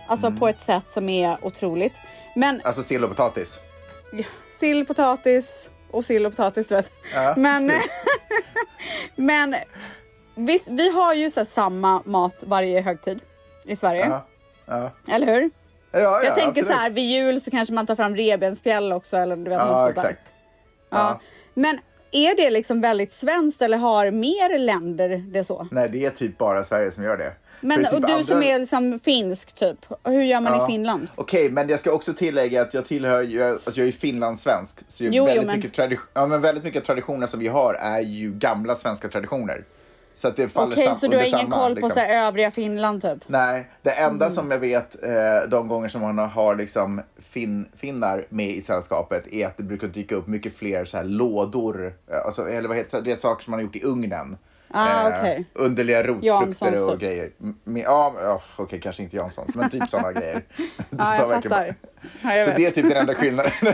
S2: Alltså
S3: Mm.
S2: på ett sätt som är otroligt. Men
S3: Alltså sill och potatis.
S2: sill, potatis och sill och potatis du vet.
S3: Ja. Mm.
S2: Men, men visst, vi har ju så här samma mat varje högtid i Sverige.
S3: Ja. Ja.
S2: Eller hur?
S3: Ja, ja,
S2: Mm. Jag tänker
S3: absolut.
S2: så här, vid jul så kanske man tar fram revbensspjäll också eller du vet något
S3: Ja,
S2: sånt där.
S3: exakt.
S2: Ja.
S3: Ja.
S2: Men är det liksom väldigt svenskt eller har mer länder det så?
S3: Nej, det är typ bara Sverige som gör det.
S2: Men
S3: För
S2: och
S3: typ
S2: du
S3: andra-
S2: som är liksom finsk typ, hur gör man
S3: Ja.
S2: i Finland?
S3: Okej, men jag ska också tillägga att jag tillhör ju, alltså jag är ju finlandssvensk. Så
S2: Jo,
S3: jag
S2: jo,
S3: väldigt,
S2: men-
S3: Mycket tradition, ja, men väldigt mycket traditioner som vi har är ju gamla svenska traditioner. Så att det faller
S2: Okej,
S3: sam-
S2: så du har
S3: under
S2: ingen
S3: samma,
S2: koll på
S3: liksom.
S2: så här, Mm. övriga Finland typ?
S3: Nej, det enda som jag vet eh, de gånger som man har liksom fin, finnar med i sällskapet är att det brukar dyka upp mycket fler så här lådor, eh, alltså, eller vad heter det, det är saker som man har gjort i ugnen. Eh,
S2: Ah, okej.
S3: Underliga
S2: Janssons,
S3: rotfrukter och
S2: typ.
S3: grejer. M- Med, ja, ja, okej, kanske inte Janssons, men typ sådana grejer.
S2: Ja,
S3: Så
S2: jag
S3: verkligen bara-
S2: fattar. Ja, jag
S3: Så
S2: vet.
S3: det är typ den enda skillnaden.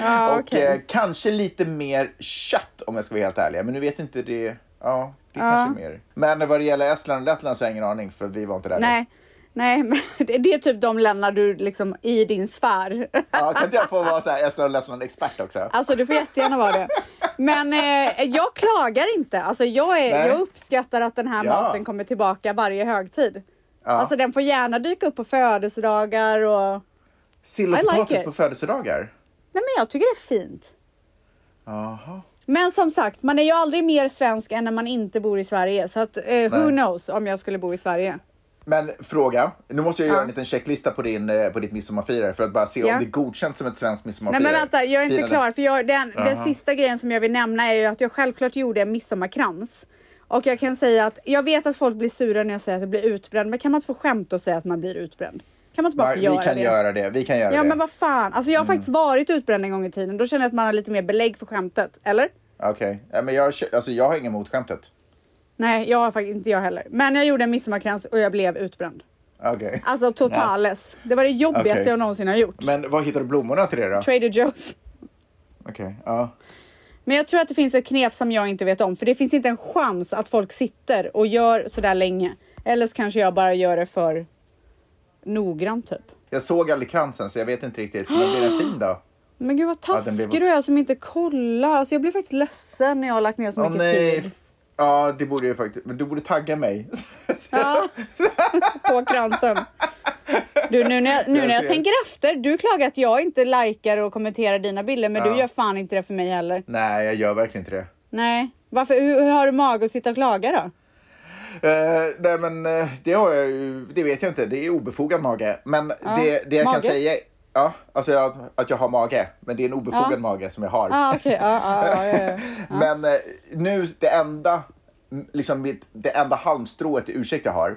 S2: Ja,
S3: och
S2: okej.
S3: eh, kanske lite mer kött om jag ska vara helt ärlig. Men nu vet inte det. Ja, det
S2: Ah.
S3: kanske är mer. Men vad det gäller Estland och Lettland så har jag ingen aning för vi var inte där. då.
S2: Nej, nej, men det det är typ de länder du liksom i din sfär.
S3: Ja, kan inte jag få vara så här Estland och Lettland-expert också?
S2: Alltså du får jättegärna vara det. Men eh, jag klagar inte. Alltså, jag, är,
S3: Nej.
S2: jag uppskattar att den här
S3: Ja.
S2: maten kommer tillbaka varje högtid. Alltså den får gärna dyka upp på födelsedagar och...
S3: Sill och
S2: I like
S3: potatis
S2: it.
S3: på födelsedagar?
S2: Nej men jag tycker det är fint.
S3: Jaha.
S2: Men som sagt, man är ju aldrig mer svensk än när man inte bor i Sverige. Så att, eh, who
S3: Nej.
S2: knows om jag skulle bo i Sverige.
S3: Men fråga, nu måste jag
S2: Ja.
S3: göra en liten checklista på, din, eh, på ditt midsommarfirare för att bara se
S2: Ja.
S3: om det är godkänt som ett svenskt
S2: Nej
S3: midsommarfirare.
S2: men vänta, jag är inte
S3: Firande.
S2: klar. För jag, den, den
S3: Jaha.
S2: sista grejen som jag vill nämna är ju att jag självklart gjorde en midsommarkrans. Och jag kan säga att jag vet att folk blir sura när jag säger att jag blir utbränd. Men kan man inte få skämta och säga att man blir utbränd? Kan man inte bara
S3: Nej,
S2: få
S3: vi
S2: göra
S3: kan
S2: det?
S3: göra det. Vi kan göra
S2: Ja
S3: det. Mm.
S2: men vad fan. Alltså jag har faktiskt varit utbränd en gång i tiden. Då känner jag att man har lite mer belägg för skämtet. Eller?
S3: Okej, ja, men jag, kö- alltså, jag har inget emot skämtet.
S2: Nej, jag har faktiskt inte jag heller. Men jag gjorde en midsommarkrans och jag blev utbränd.
S3: Okej.
S2: Alltså totales. Det var det jobbigaste
S3: Okej.
S2: jag någonsin har gjort.
S3: Men var hittar du blommorna till det då? Okej,
S2: Trader Joe's.
S3: ja.
S2: Men jag tror att det finns ett knep som jag inte vet om. För det finns inte en chans att folk sitter och gör sådär länge. Eller så kanske jag bara gör det för noggrant typ.
S3: Jag såg aldrig kransen så jag vet inte riktigt. Men blir den fin då?
S2: Men gud vad
S3: den blev-
S2: taskig du är alltså, som inte kollar. Alltså jag blir faktiskt ledsen när jag har lagt ner så
S3: Åh
S2: mycket tid
S3: nej. Ja, det borde jag faktiskt. Men du borde tagga mig.
S2: ja. på kransen. Du, nu när jag, nu
S3: Jag
S2: när jag
S3: ser.
S2: tänker efter. Du klagar att jag inte likar och kommenterar dina bilder. Men du gör fan inte det för mig heller.
S3: nej, jag gör verkligen inte det.
S2: Nej. Varför, hur, hur har du mage att sitta och klaga då?
S3: Eh, nej men eh, det har jag ju, det vet jag inte, det är obefogad mage. Men det, det jag kan
S2: mage.
S3: säga, ja, alltså jag, att jag har mage, men det är en obefogad mage som jag har.
S2: Ah, okej. Ja, ja, ja, ja, ja.
S3: Men eh, nu, det enda, m, liksom mitt, det enda halmstrået till ursäkt jag har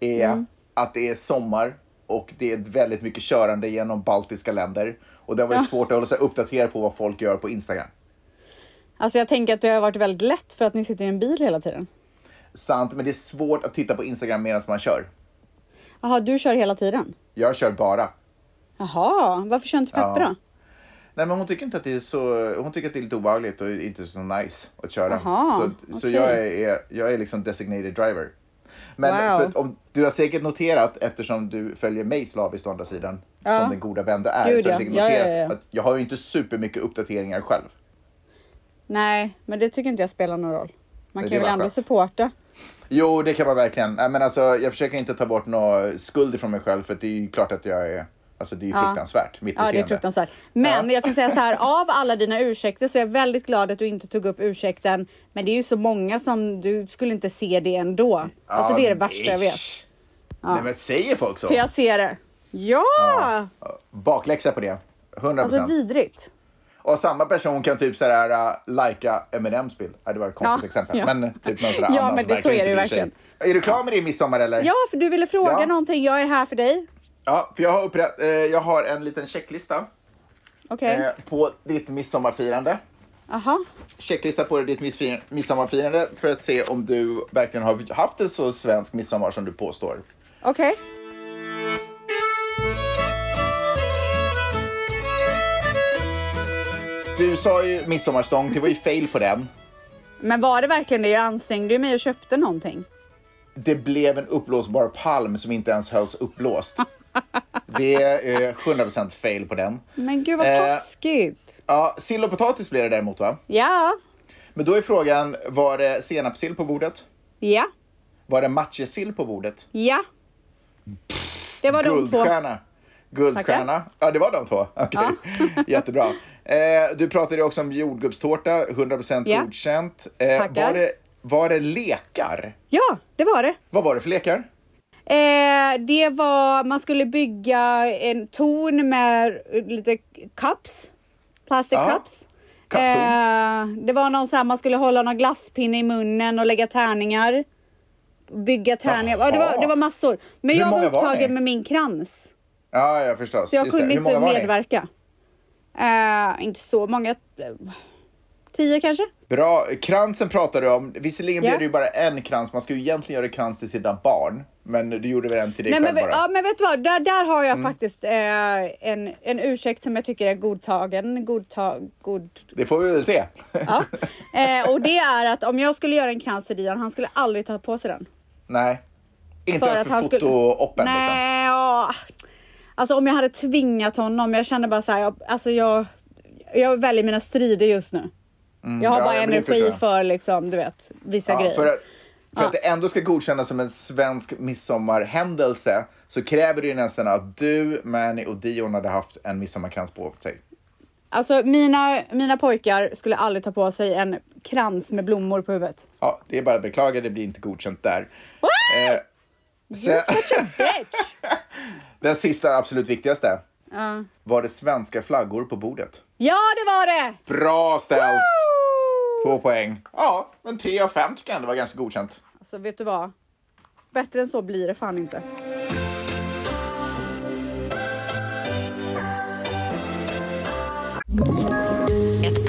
S3: är att det är sommar och det är väldigt mycket körande genom baltiska länder. Och det har varit svårt att hålla sig uppdaterad på vad folk gör på Instagram.
S2: Alltså jag tänker att det har varit väldigt lätt för att ni sitter i en bil hela tiden.
S3: Sant, men det är svårt att titta på Instagram medan man kör.
S2: Jaha, du kör hela tiden?
S3: Jag kör bara.
S2: Jaha, varför kör inte Peppe
S3: Ja.
S2: då?
S3: Nej men hon tycker inte att det är så, hon tycker att det är lite obehagligt och inte så nice att köra.
S2: Aha,
S3: så så
S2: okej.
S3: jag, är, jag är liksom designated driver. Men
S2: Wow.
S3: för att om, du har säkert noterat, eftersom du följer mig slaviskt å andra sidan,
S2: Ja.
S3: som den goda vän du är,
S2: Gud,
S3: så
S2: ja.
S3: har du säkert
S2: Ja, ja,
S3: noterat
S2: ja, ja.
S3: att jag har ju inte supermycket uppdateringar själv.
S2: Nej, men det tycker inte jag spelar någon roll. Man
S3: Det
S2: kan
S3: är
S2: väl
S3: bara
S2: ändå
S3: skönt.
S2: supporta.
S3: Jo, det kan man verkligen. Nej, men alltså, jag försöker inte ta bort någon skuld från mig själv, för att det är ju klart att jag är, alltså det är ju fruktansvärt, mitt
S2: Ja, det är
S3: beteende.
S2: fruktansvärt. Men jag kan säga så här, av alla dina ursäkter så är jag väldigt glad att du inte tog upp ursäkten. Men det är ju så många som du skulle inte se det ändå. Alltså det är det värsta jag vet.
S3: ish. Nej men säger folk så?
S2: För jag ser det. Ja!
S3: Bakläxa på det. 100%.
S2: Alltså vidrigt.
S3: Och samma person kan typ sådär uh, lika Eminems bild. Ja, det var ett konstigt
S2: Ja,
S3: exempel.
S2: ja.
S3: Men typ någon sådär
S2: Ja,
S3: annan
S2: men
S3: som
S2: det- så är
S3: inte
S2: det ju
S3: bryr sig. Är du klar med det i midsommar eller?
S2: Ja, för du ville fråga
S3: Ja.
S2: någonting. Jag är här för dig.
S3: Ja, för jag har, upprätt, eh, jag har en liten checklista
S2: Okej.
S3: eh, på ditt midsommarfirande.
S2: Aha.
S3: Checklista på ditt missfir- midsommarfirande för att se om du verkligen har haft en så svensk midsommar som du påstår.
S2: Okej.
S3: Du sa ju midsommarstång, det var ju fail på den.
S2: Men var det verkligen det? Jag ansträngde ju mig och köpte någonting.
S3: Det blev en uppblåsbar palm som inte ens hölls uppblåst. Det är eh, 100% fail på den.
S2: Men gud vad
S3: Eh.
S2: taskigt.
S3: Ja, sill och potatis blir det däremot va?
S2: Ja,
S3: Men då är frågan, var det senapssill på bordet?
S2: ja,
S3: Var det matjessill på bordet?
S2: ja. Det var de två.
S3: Guldstjärna. Guldstjärna. Ja, det var de två. Okej, jättebra. Eh, du pratade ju också om jordgubbstårta, 100%
S2: Ja.
S3: godkänt. Eh,
S2: Tackar.
S3: var, det, var det lekar?
S2: Ja, det var det.
S3: Vad var det för lekar?
S2: Eh, det var, man skulle bygga en torn med lite cups. Plastic
S3: Ja,
S2: cups.
S3: kapptorn.
S2: Eh, det var någon så här, man skulle hålla någon glasspinne i munnen och lägga tärningar. Bygga tärningar. Ja, det, var, det var massor. Men
S3: Hur
S2: jag var
S3: många var
S2: upptagen
S3: ni?
S2: med min krans.
S3: Ja, jag förstår.
S2: Så jag
S3: Just det.
S2: kunde
S3: Hur många
S2: inte
S3: var ni?
S2: medverka. Eh, inte så många. eh, Tio kanske?
S3: Bra. Kransen pratade du om. Visserligen
S2: Ja.
S3: blev det ju bara en krans. Man ska ju egentligen göra krans till sina barn. Men du gjorde väl en till dig
S2: Nej,
S3: själv
S2: men,
S3: bara? Mm.
S2: ja, men vet du vad, där, där har jag faktiskt eh, en, en ursäkt som jag tycker är godtagen. Godta, god,
S3: Det får vi väl se.
S2: ja. eh, och det är att om jag skulle göra en krans till Dion, han skulle aldrig ta på sig den.
S3: Nej. Inte ens för
S2: skulle-
S3: foto-oppen. Liksom.
S2: Nej, ja. Alltså om jag hade tvingat honom, jag känner bara så här, jag, alltså jag, jag väljer mina strider just nu. jag har
S3: Mm, ja,
S2: bara
S3: ja, men det förstår
S2: energi
S3: jag.
S2: för liksom, du vet, vissa
S3: Ja,
S2: grejer.
S3: för att, för att det ändå ska godkännas som en svensk midsommarhändelse så kräver det ju nästan att du, Mani och Dion hade haft en midsommarkrans på sig.
S2: Alltså mina, mina pojkar skulle aldrig ta på sig en krans med blommor på huvudet.
S3: Ja, det är bara att beklaga, det blir inte godkänt där. Eh,
S2: You're
S3: sen-
S2: such a bitch!
S3: den sista absolut viktigaste.
S2: Ja.
S3: Var det svenska flaggor på bordet?
S2: Ja, det var det!
S3: Bra ställs! Två poäng. Ja, men tre av fem tycker jag ändå var ganska godkänt.
S2: Alltså, vet du vad? Bättre än så blir det fan inte.
S6: Ett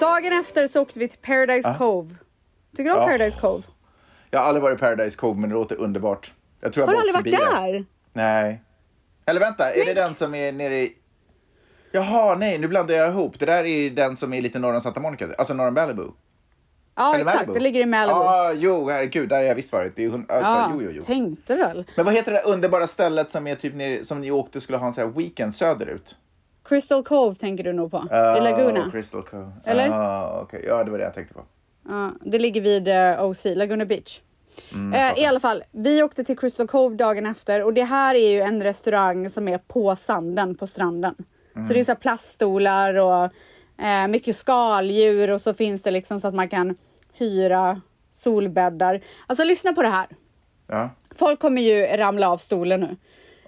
S2: Dagen efter så åkte vi till Paradise Cove. Tycker du om
S3: Ah. Ja.
S2: Paradise Cove?
S3: Jag har aldrig varit i Paradise Cove, men det låter underbart. Jag tror jag
S2: Har du
S3: bara
S2: aldrig
S3: åkt
S2: varit
S3: förbi
S2: där?
S3: Nej. Eller vänta, är det den som är nere i... Jaha, nej, nu blandar jag ihop. Det där är den som är lite norr om Santa Monica, alltså norr om Malibu.
S2: Ja,
S3: Eller
S2: exakt.
S3: Malibu.
S2: Det ligger i Malibu.
S3: Ja, ah, jo, herregud, där har jag visst varit. Det är hund... alltså,
S2: Ja,
S3: jo, jo, jo.
S2: tänkte väl.
S3: Men vad heter det där underbara stället som, är typ nere, som ni åkte skulle ha en sån här weekend söderut?
S2: Crystal Cove tänker du nog på.
S3: Ah,
S2: I Laguna.
S3: Crystal Cove.
S2: Eller?
S3: Ah, okej. Ja, det var det jag tänkte på.
S2: Ja, det ligger vid eh, OC, Laguna Beach.
S3: Mm,
S2: eh, I alla fall, vi åkte till Crystal Cove dagen efter och det här är ju en restaurang som är på sanden, på stranden.
S3: Mm.
S2: Så det är så här plaststolar och eh, mycket skaldjur och så finns det liksom så att man kan hyra solbäddar. Alltså lyssna på det här.
S3: Ja.
S2: Folk kommer ju ramla av stolen nu.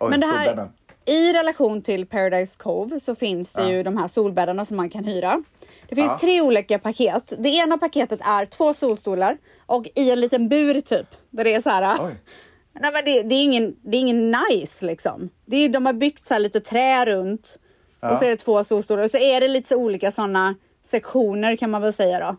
S3: Oj,
S2: Men det här,
S3: solbädden.
S2: i relation till Paradise Cove så finns det ju de här solbäddarna som man kan hyra. Det finns tre olika paket. Det ena paketet är två solstolar och i en liten bur typ. Där det är så här.
S3: Oj.
S2: Nej, men det, det, är ingen, det är ingen nice liksom. Det är, de har byggt så här lite trä runt och så är det två solstolar och så är det lite så olika sådana sektioner kan man väl säga då.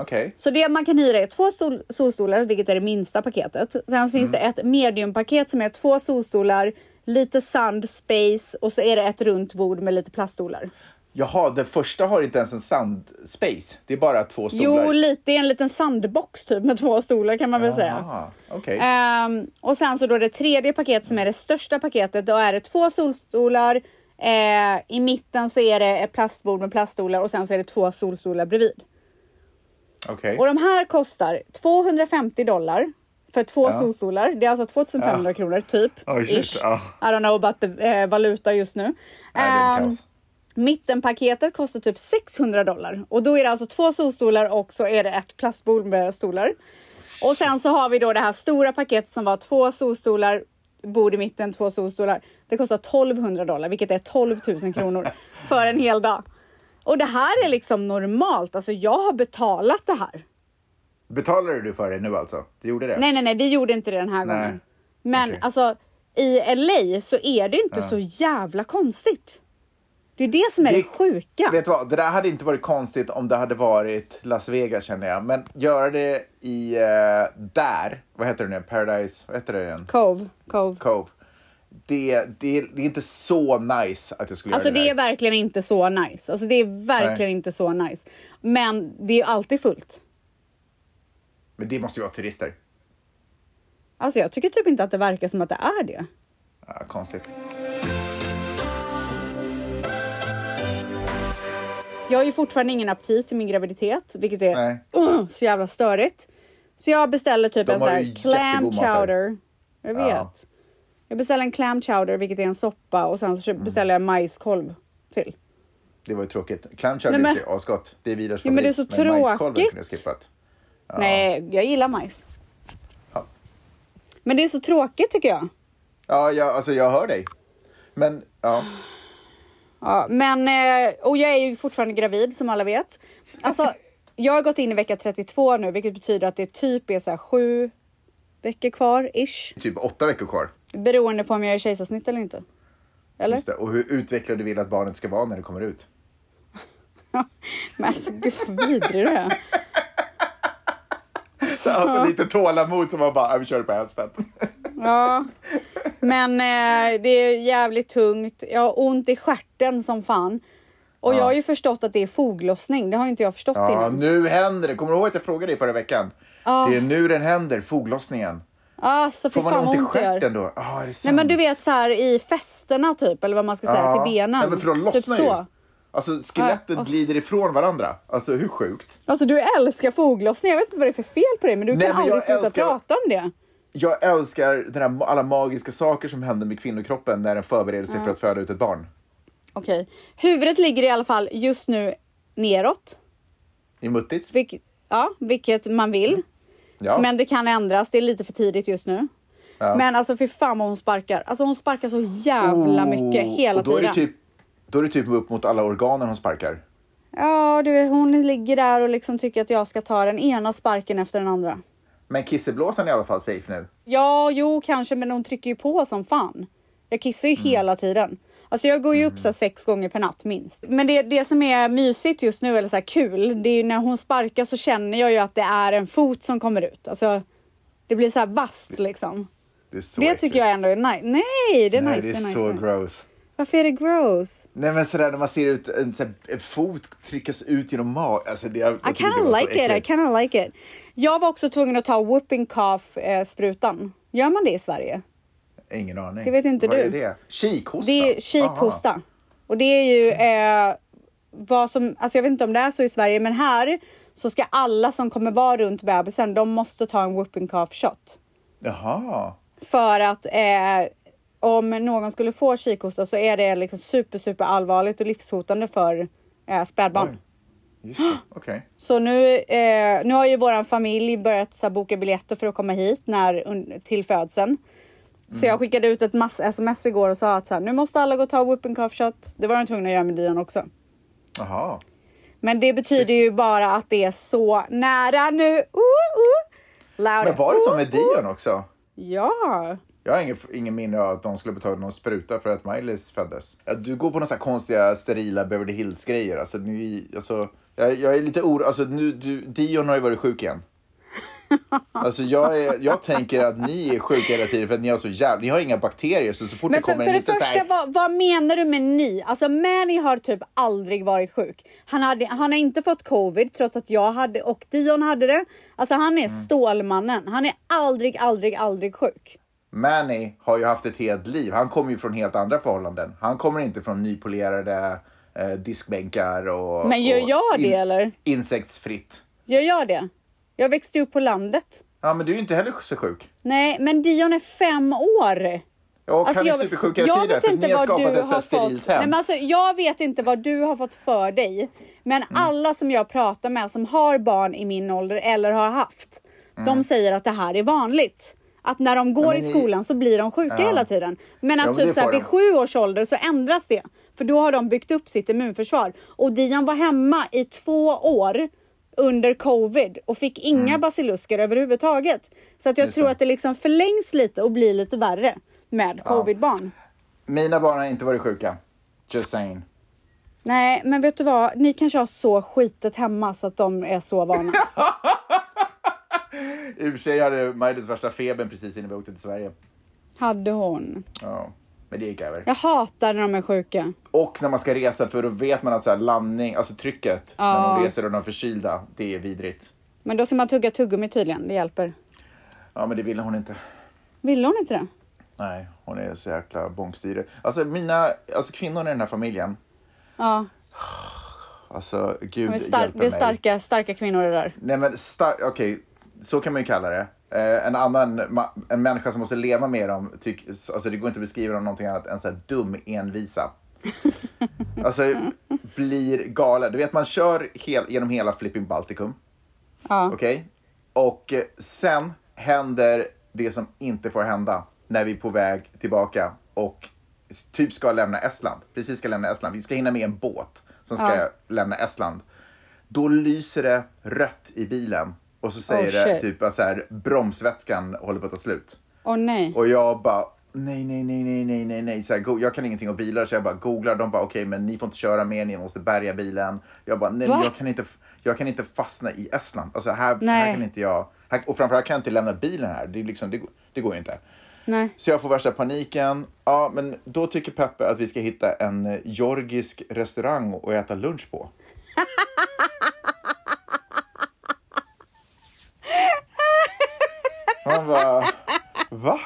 S3: Okej.
S2: Så det man kan hyra är två sol solstolar, vilket är det minsta paketet. Sen finns det ett mediumpaket som är två solstolar, lite sand, space och så är det ett runt bord med lite plaststolar.
S3: Jaha, den första har inte ens en sandspace. Det är bara två stolar.
S2: Jo, lite, det är en liten sandbox typ med två stolar kan man väl säga.
S3: Ah, okej.
S2: Ehm, och sen så då det tredje paketet som är det största paketet, då är det två solstolar, eh, i mitten så är det ett plastbord med plaststolar och sen så är det två solstolar bredvid.
S3: Okej.
S2: Och de här kostar 250 dollar för två solstolar. Det är alltså 2500 kronor typ.
S3: Oj, shit,
S2: ish.
S3: ja.
S2: I don't know about the eh, valuta just nu.
S3: Nej, det är
S2: Ehm,
S3: kaos.
S2: mittenpaketet kostar typ 600 dollar och då är det alltså två solstolar och så är det ett plastbord med stolar. Och sen så har vi då det här stora paketet som var två solstolar, bord i mitten, två solstolar. Det kostar 1200 dollar, vilket är 12 000 kronor för en hel dag. Och det här är liksom normalt. Alltså, jag har betalat det här.
S3: Betalade du för det nu alltså? Du gjorde det?
S2: Nej, nej, nej, vi gjorde inte det den här
S3: Nej.
S2: gången. Men
S3: Okej.
S2: alltså, i LA så är det inte så jävla konstigt. Det är det som är det, sjuka.
S3: Vet du vad, det där hade inte varit konstigt om det hade varit Las Vegas känner jag. Men göra det i, eh, där, vad heter det nu, Paradise, vad heter det igen?
S2: Cove, Cove.
S3: Cove. Det, det, det är inte så nice att jag skulle
S2: Alltså
S3: göra det,
S2: det är
S3: där.
S2: verkligen inte så nice. Alltså det är verkligen
S3: Nej.
S2: inte så nice. Men det är ju alltid fullt.
S3: Men det måste ju vara turister.
S2: Alltså jag tycker typ inte att det verkar som att det är det.
S3: Ja, konstigt.
S2: Jag har ju fortfarande ingen aptit i min graviditet, vilket är
S3: Nej.
S2: uh, så jävla störigt. Så jag beställer typ
S3: De
S2: en
S3: har
S2: sån
S3: ju
S2: här clam
S3: jättegod mat där.
S2: chowder. Jag vet.
S3: Ja.
S2: Jag beställer en clam chowder, vilket är en soppa och sen så
S3: Mm.
S2: köp- beställer jag majskolv till.
S3: Det var ju tråkigt. Clam chowder
S2: Nej, men-
S3: är ju asgott. Det är Vidars
S2: Jo, men det är
S3: favorit,
S2: så
S3: men majskolven kunde jag
S2: tråkigt.
S3: skippat.
S2: Nej, jag gillar majs.
S3: Ja.
S2: Men det är så tråkigt tycker jag.
S3: Ja, jag, alltså jag hör dig. Men, ja.
S2: Ja, men, eh, och jag är ju fortfarande gravid som alla vet. Alltså, jag har gått in i vecka 32 nu, vilket betyder att det typ är så här sju veckor kvar ish.
S3: Typ åtta veckor kvar.
S2: Beroende på om jag är kejsarsnitt eller inte. Eller?
S3: Just det. Och hur utvecklad du vill att barnet ska vara när det kommer ut.
S2: Men alltså gud vad vidrig du är.
S3: Så, alltså lite tålamod som man bara, "Ja, vi kör på hälften.
S2: Ja. Men eh, det är jävligt tungt. Jag har ont i stjärten som fan. Och jag har ju förstått att det är foglossning. Det har inte jag förstått
S3: Ja,
S2: innan.
S3: nu händer det. Kommer du ihåg att jag frågade dig förra veckan? Det är nu den händer, foglossningen.
S2: Alltså fy
S3: Får man
S2: fan vad
S3: ont i
S2: ont det gör.
S3: stjärten då? Ja, är det
S2: Nej
S3: sant?
S2: men du vet så här i festerna typ eller vad man ska säga
S3: Ja.
S2: till benen.
S3: Nej, men för de
S2: typ
S3: lossnar
S2: så.
S3: ju. Alltså skelettet glider ifrån varandra. Alltså hur sjukt?
S2: Alltså du älskar foglossning. Jag vet inte vad det är för fel på dig men du
S3: Nej,
S2: kan
S3: men jag
S2: aldrig sluta
S3: älskar-
S2: prata om det.
S3: Jag älskar den här, alla magiska saker som händer med kvinnokroppen när den förbereder sig för att föda ut ett barn.
S2: Okej. Huvudet ligger i alla fall just nu neråt.
S3: I muttis?
S2: Vilket, ja, vilket man vill.
S3: Mm. Ja.
S2: Men det kan ändras. Det är lite för tidigt just nu. Men alltså fy fan vad hon sparkar. Alltså hon sparkar så jävla mycket
S3: Oh,
S2: hela
S3: och då
S2: tiden.
S3: Är det typ, då är det typ upp mot alla organen hon sparkar.
S2: Ja, du vet, hon ligger där och liksom tycker att jag ska ta den ena sparken efter den andra.
S3: Men kisseblåsan är i alla fall safe nu.
S2: Ja, jo, kanske, men hon trycker ju på som fan. Jag kissar ju
S3: Mm.
S2: hela tiden. Alltså jag går ju upp så här sex gånger per natt minst. Men det, det som är mysigt just nu, eller så här kul, det är ju när hon sparkar så känner jag ju att det är en fot som kommer ut. Alltså, det blir så här vasst liksom.
S3: Det, är så
S2: Det tycker jag ändå är nice. Nej, det är
S3: Nej,
S2: nice.
S3: det är,
S2: nice,
S3: så
S2: nice.
S3: gross.
S2: Varför är det gross?
S3: Nej men sådär när man ser ut, en, såhär, en fot tryckas ut genom magen. Alltså, det, jag,
S2: I kinda like it, I kinda like it. Jag var också tvungen att ta whooping cough-sprutan. Gör man det i Sverige?
S3: Ingen aning.
S2: Det vet inte
S3: Vad
S2: du.
S3: Är det? Kikhosta?
S2: Det är kikhosta. Och det är ju eh, vad som, alltså jag vet inte om det är så i Sverige, men här så ska alla som kommer vara runt bebisen, de måste ta en whooping cough shot.
S3: Jaha. Jaha.
S2: För att eh, om någon skulle få kikhosta så är det liksom super, super allvarligt och livshotande för eh, spädbarn.
S3: Just det, okej.
S2: Så nu, eh, nu har ju våran familj börjat så här, boka biljetter för att komma hit när, un, till födseln. Så
S3: Mm.
S2: jag skickade ut ett mass-sms igår och sa att så här, nu måste alla gå och ta whooping cough shot. Det var de tvungna att göra med Dion också.
S3: Jaha.
S2: Men det betyder ju bara att det är så nära nu. Uh, uh. Loud.
S3: Men var det så
S2: Uh,
S3: med
S2: uh.
S3: Dion också?
S2: Ja.
S3: Jag har ingen, ingen minne av att de skulle betala någon spruta för att Miley's föddes. Ja, Du går på några så här konstiga sterila Beverly Hills-grejer. Alltså, ni, alltså, jag, jag är lite orolig. Alltså, nu, du, Dion har ju varit sjuk igen. Alltså, jag, är, jag tänker att ni är sjuka hela tiden för att ni har så jävla... Ni har inga bakterier så, så fort
S2: Men
S3: det
S2: för,
S3: kommer
S2: för det
S3: en liten så
S2: första,
S3: här...
S2: vad, vad menar du med ni? Alltså Manny har typ aldrig varit sjuk. Han, hade, han har inte fått covid trots att jag hade och Dion hade det. Alltså han är
S3: Mm.
S2: Stålmannen. Han är aldrig, aldrig, aldrig sjuk.
S3: Manny har ju haft ett helt liv. Han kommer ju från helt andra förhållanden. Han kommer inte från nypolerade eh, diskbänkar och...
S2: Men gör
S3: och
S2: jag det, eller?
S3: Insektsfritt.
S2: Jag gör det. Jag växte upp på landet.
S3: Ja, men du är ju inte heller så sjuk.
S2: Nej, men Dion är fem år.
S3: Ja, och
S2: Alltså,
S3: han är supersjuk hela tiden.
S2: vet
S3: för att
S2: inte
S3: ni har
S2: vad
S3: skapat
S2: du
S3: ett så här
S2: har
S3: sterilt
S2: fått.
S3: hem.
S2: Nej, men alltså, jag vet inte vad du har fått för dig. Men
S3: Mm.
S2: alla som jag pratar med som har barn i min ålder eller har haft. De säger att det här är vanligt. Att när de går
S3: Mm. men
S2: i
S3: ni-
S2: skolan så blir de sjuka hela tiden. Men att
S3: men det
S2: typ så här,
S3: får
S2: vid
S3: de.
S2: sju års ålder så ändras det. För då har de byggt upp sitt immunförsvar. Och Dion var hemma i två år under covid och fick inga basilusker överhuvudtaget. Så att jag
S3: Just
S2: tror
S3: Mm. det.
S2: att det liksom förlängs lite och blir lite värre med covidbarn.
S3: Mina barn har inte varit sjuka. Just saying.
S2: Nej, men vet du vad? Ni kanske har så skitet hemma så att de är så vana.
S3: I och för sig hade Maj värsta febern precis innan vi åkte till Sverige.
S2: Hade hon.
S3: Ja, men det gick över.
S2: Jag hatar när de är sjuka.
S3: Och när man ska resa, för då vet man att så här, landning, alltså trycket när
S2: Ja.
S3: man reser och de är förkylda, det är vidrigt.
S2: Men då ska man tugga tuggummi tydligen. Det hjälper.
S3: Ja, men det ville hon inte.
S2: Vill hon inte det?
S3: Nej, hon är så jäkla bångstyrig. Alltså mina, alltså kvinnorna i den här familjen,
S2: Ja,
S3: alltså gud
S2: de är star-
S3: hjälper
S2: det är
S3: mig.
S2: starka, starka kvinnor det där.
S3: Nej men stark, okej, så kan man ju kalla det. Eh, en annan, ma- en människa som måste leva med dem, tyck, alltså det går inte att beskriva dem någonting annat än så här dum envisa. alltså blir galen. Du vet man kör hel, genom hela flipping Baltikum,
S2: Ja.
S3: okej? Och eh, sen händer det som inte får hända när vi är på väg tillbaka och s- typ ska lämna Estland. Precis ska lämna Estland. Vi ska hinna med en båt som ska
S2: Ja.
S3: lämna Estland då lyser det rött i bilen och så säger
S2: Oh,
S3: det
S2: shit.
S3: typ att så här, bromsvätskan håller på att ta slut.
S2: Åh nej.
S3: Och jag bara nej, nej, nej, nej, nej, nej, nej. Så här, go- jag kan ingenting om bilar så jag bara googlar. De bara okej, men ni får inte köra mer, ni måste bärga bilen. Jag bara nej, men
S2: Va?
S3: jag kan inte, f- jag kan inte fastna i Estland. Alltså här, här
S2: Nej.
S3: kan inte jag, här, och framförallt kan jag inte lämna bilen här. Det, är liksom, det, går- det går ju inte.
S2: Nej.
S3: Så jag får värsta paniken. Ja, men då tycker Peppe att vi ska hitta en eh, georgisk restaurang och äta lunch på. Han bara, va?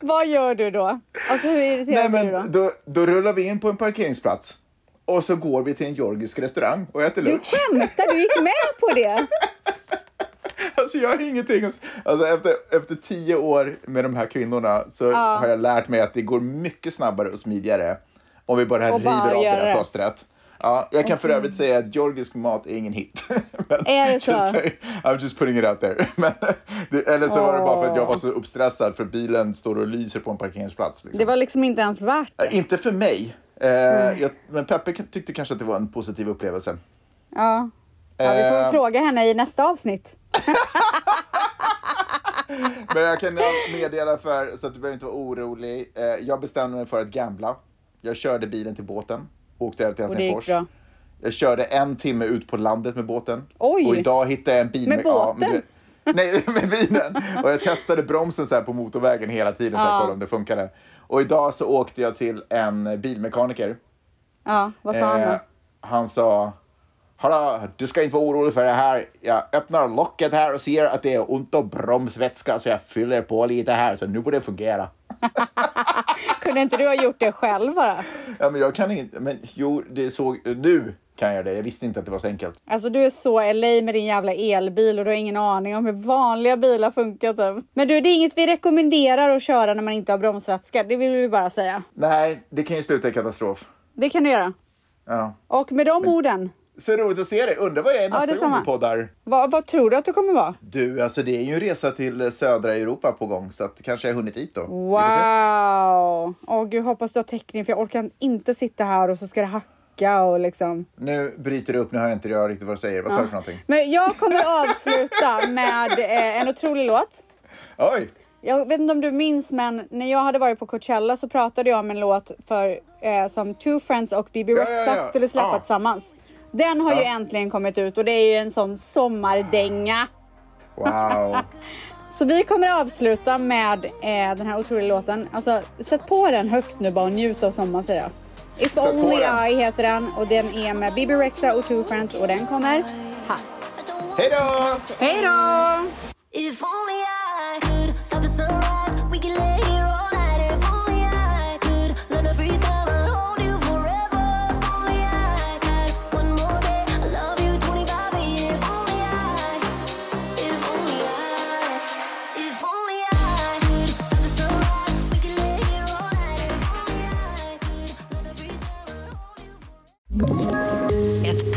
S2: Vad gör du då? Alltså hur
S3: Nej,
S2: irriterad blir du
S3: men
S2: då?
S3: då, då rullar vi in på en parkeringsplats och så går vi till en georgisk restaurang och äter
S2: Du
S3: lunch.
S2: skämtar, du gick med på det.
S3: Alltså jag har ingenting att- alltså, efter, efter tio år med de här kvinnorna så har jag lärt mig att det går mycket snabbare och smidigare om vi bara
S2: Och
S3: river
S2: bara
S3: av det
S2: göra
S3: där
S2: det.
S3: plåstret. Ja, jag kan för övrigt säga att georgisk mat är ingen hit. Men
S2: Är det
S3: just
S2: så?
S3: say- I'm just putting it out there. Men, det, eller så var det bara för att jag var så uppstressad för bilen står och lyser på en parkeringsplats. Liksom.
S2: Det var liksom inte ens värt
S3: Eh, Inte för mig, eh, jag, men Peppe kan- tyckte kanske att det var en positiv upplevelse.
S2: Ja. ja vi får
S3: Eh.
S2: fråga henne i nästa avsnitt.
S3: Men jag kan meddela för, så att du behöver inte vara orolig. Eh, Jag bestämde mig för att gambla. Jag körde bilen till båten, åkte över till
S2: Och det gick
S3: Helsingfors.
S2: bra.
S3: Jag körde en timme ut på landet med båten.
S2: Oj!
S3: Och idag hittade jag en bil
S2: Med
S3: Ja,
S2: båten?
S3: men, nej, med bilen. Och jag testade bromsen så här på motorvägen hela tiden, så här,
S2: Ja.
S3: kollade om det funkade. Och idag så åkte jag till en bilmekaniker.
S2: Ja, vad sa han
S3: Eh,
S2: då?
S3: han sa, Hallå, du ska inte vara orolig för det här. Jag öppnar locket här och ser att det är ont om bromsvätska så jag fyller på lite här så nu borde det fungera.
S2: Kunde inte du ha gjort det själv bara?
S3: Ja, men jag kan inte, men jo, det såg, nu kan jag det. Jag visste inte att det var så enkelt.
S2: Alltså du är så LA med din jävla elbil och du har ingen aning om hur vanliga bilar funkar typ. Men du, det är inget vi rekommenderar att köra när man inte har bromsvätska. Det vill vi bara säga.
S3: Nej, det kan ju sluta i katastrof.
S2: Det kan du göra.
S3: Ja.
S2: Och med de orden,
S3: Så roligt att se dig. Undrar vad jag är nästa gång
S2: detsamma.
S3: vi poddar.
S2: vad, vad tror du att du kommer vara?
S3: Du, alltså det är ju en resa till eh, södra Europa på gång så att kanske jag har hunnit dit då. Vi får se.
S2: Wow! Åh gud, hoppas du har täckning för jag orkar inte sitta här och så ska det hacka och liksom.
S3: Nu bryter det upp, nu hör jag inte jag riktigt vad du säger. Vad sa du för någonting?
S2: Men jag kommer avsluta med eh, en otrolig låt.
S3: Oj!
S2: Jag vet inte om du minns, men när jag hade varit på Coachella så pratade jag om en låt för, eh, som Two Friends och Bibi
S3: ja,
S2: Rexha
S3: ja.
S2: skulle släppa
S3: Ah.
S2: tillsammans. Den har ju
S3: Ja.
S2: äntligen kommit ut och det är ju en sån sommardänga.
S3: Wow!
S2: Så vi kommer avsluta med eh, den här otroliga låten. Alltså, sätt på den högt nu bara och njut av sommaren säger jag. If
S3: på
S2: Only
S3: den.
S2: I heter den och den är med Bibi Rexha och Two Friends och den kommer här.
S3: Hej då!
S2: Hej då!
S1: If only I could stop the sunrise, we could lay here all night. If only I could learn to freeze time and hold you forever. If only I had one more day. I love you 25 years. If only I, if only I, if only I could stop the sunrise, we could lay here all night. If only I could learn to freeze time and hold you forever.
S6: Ett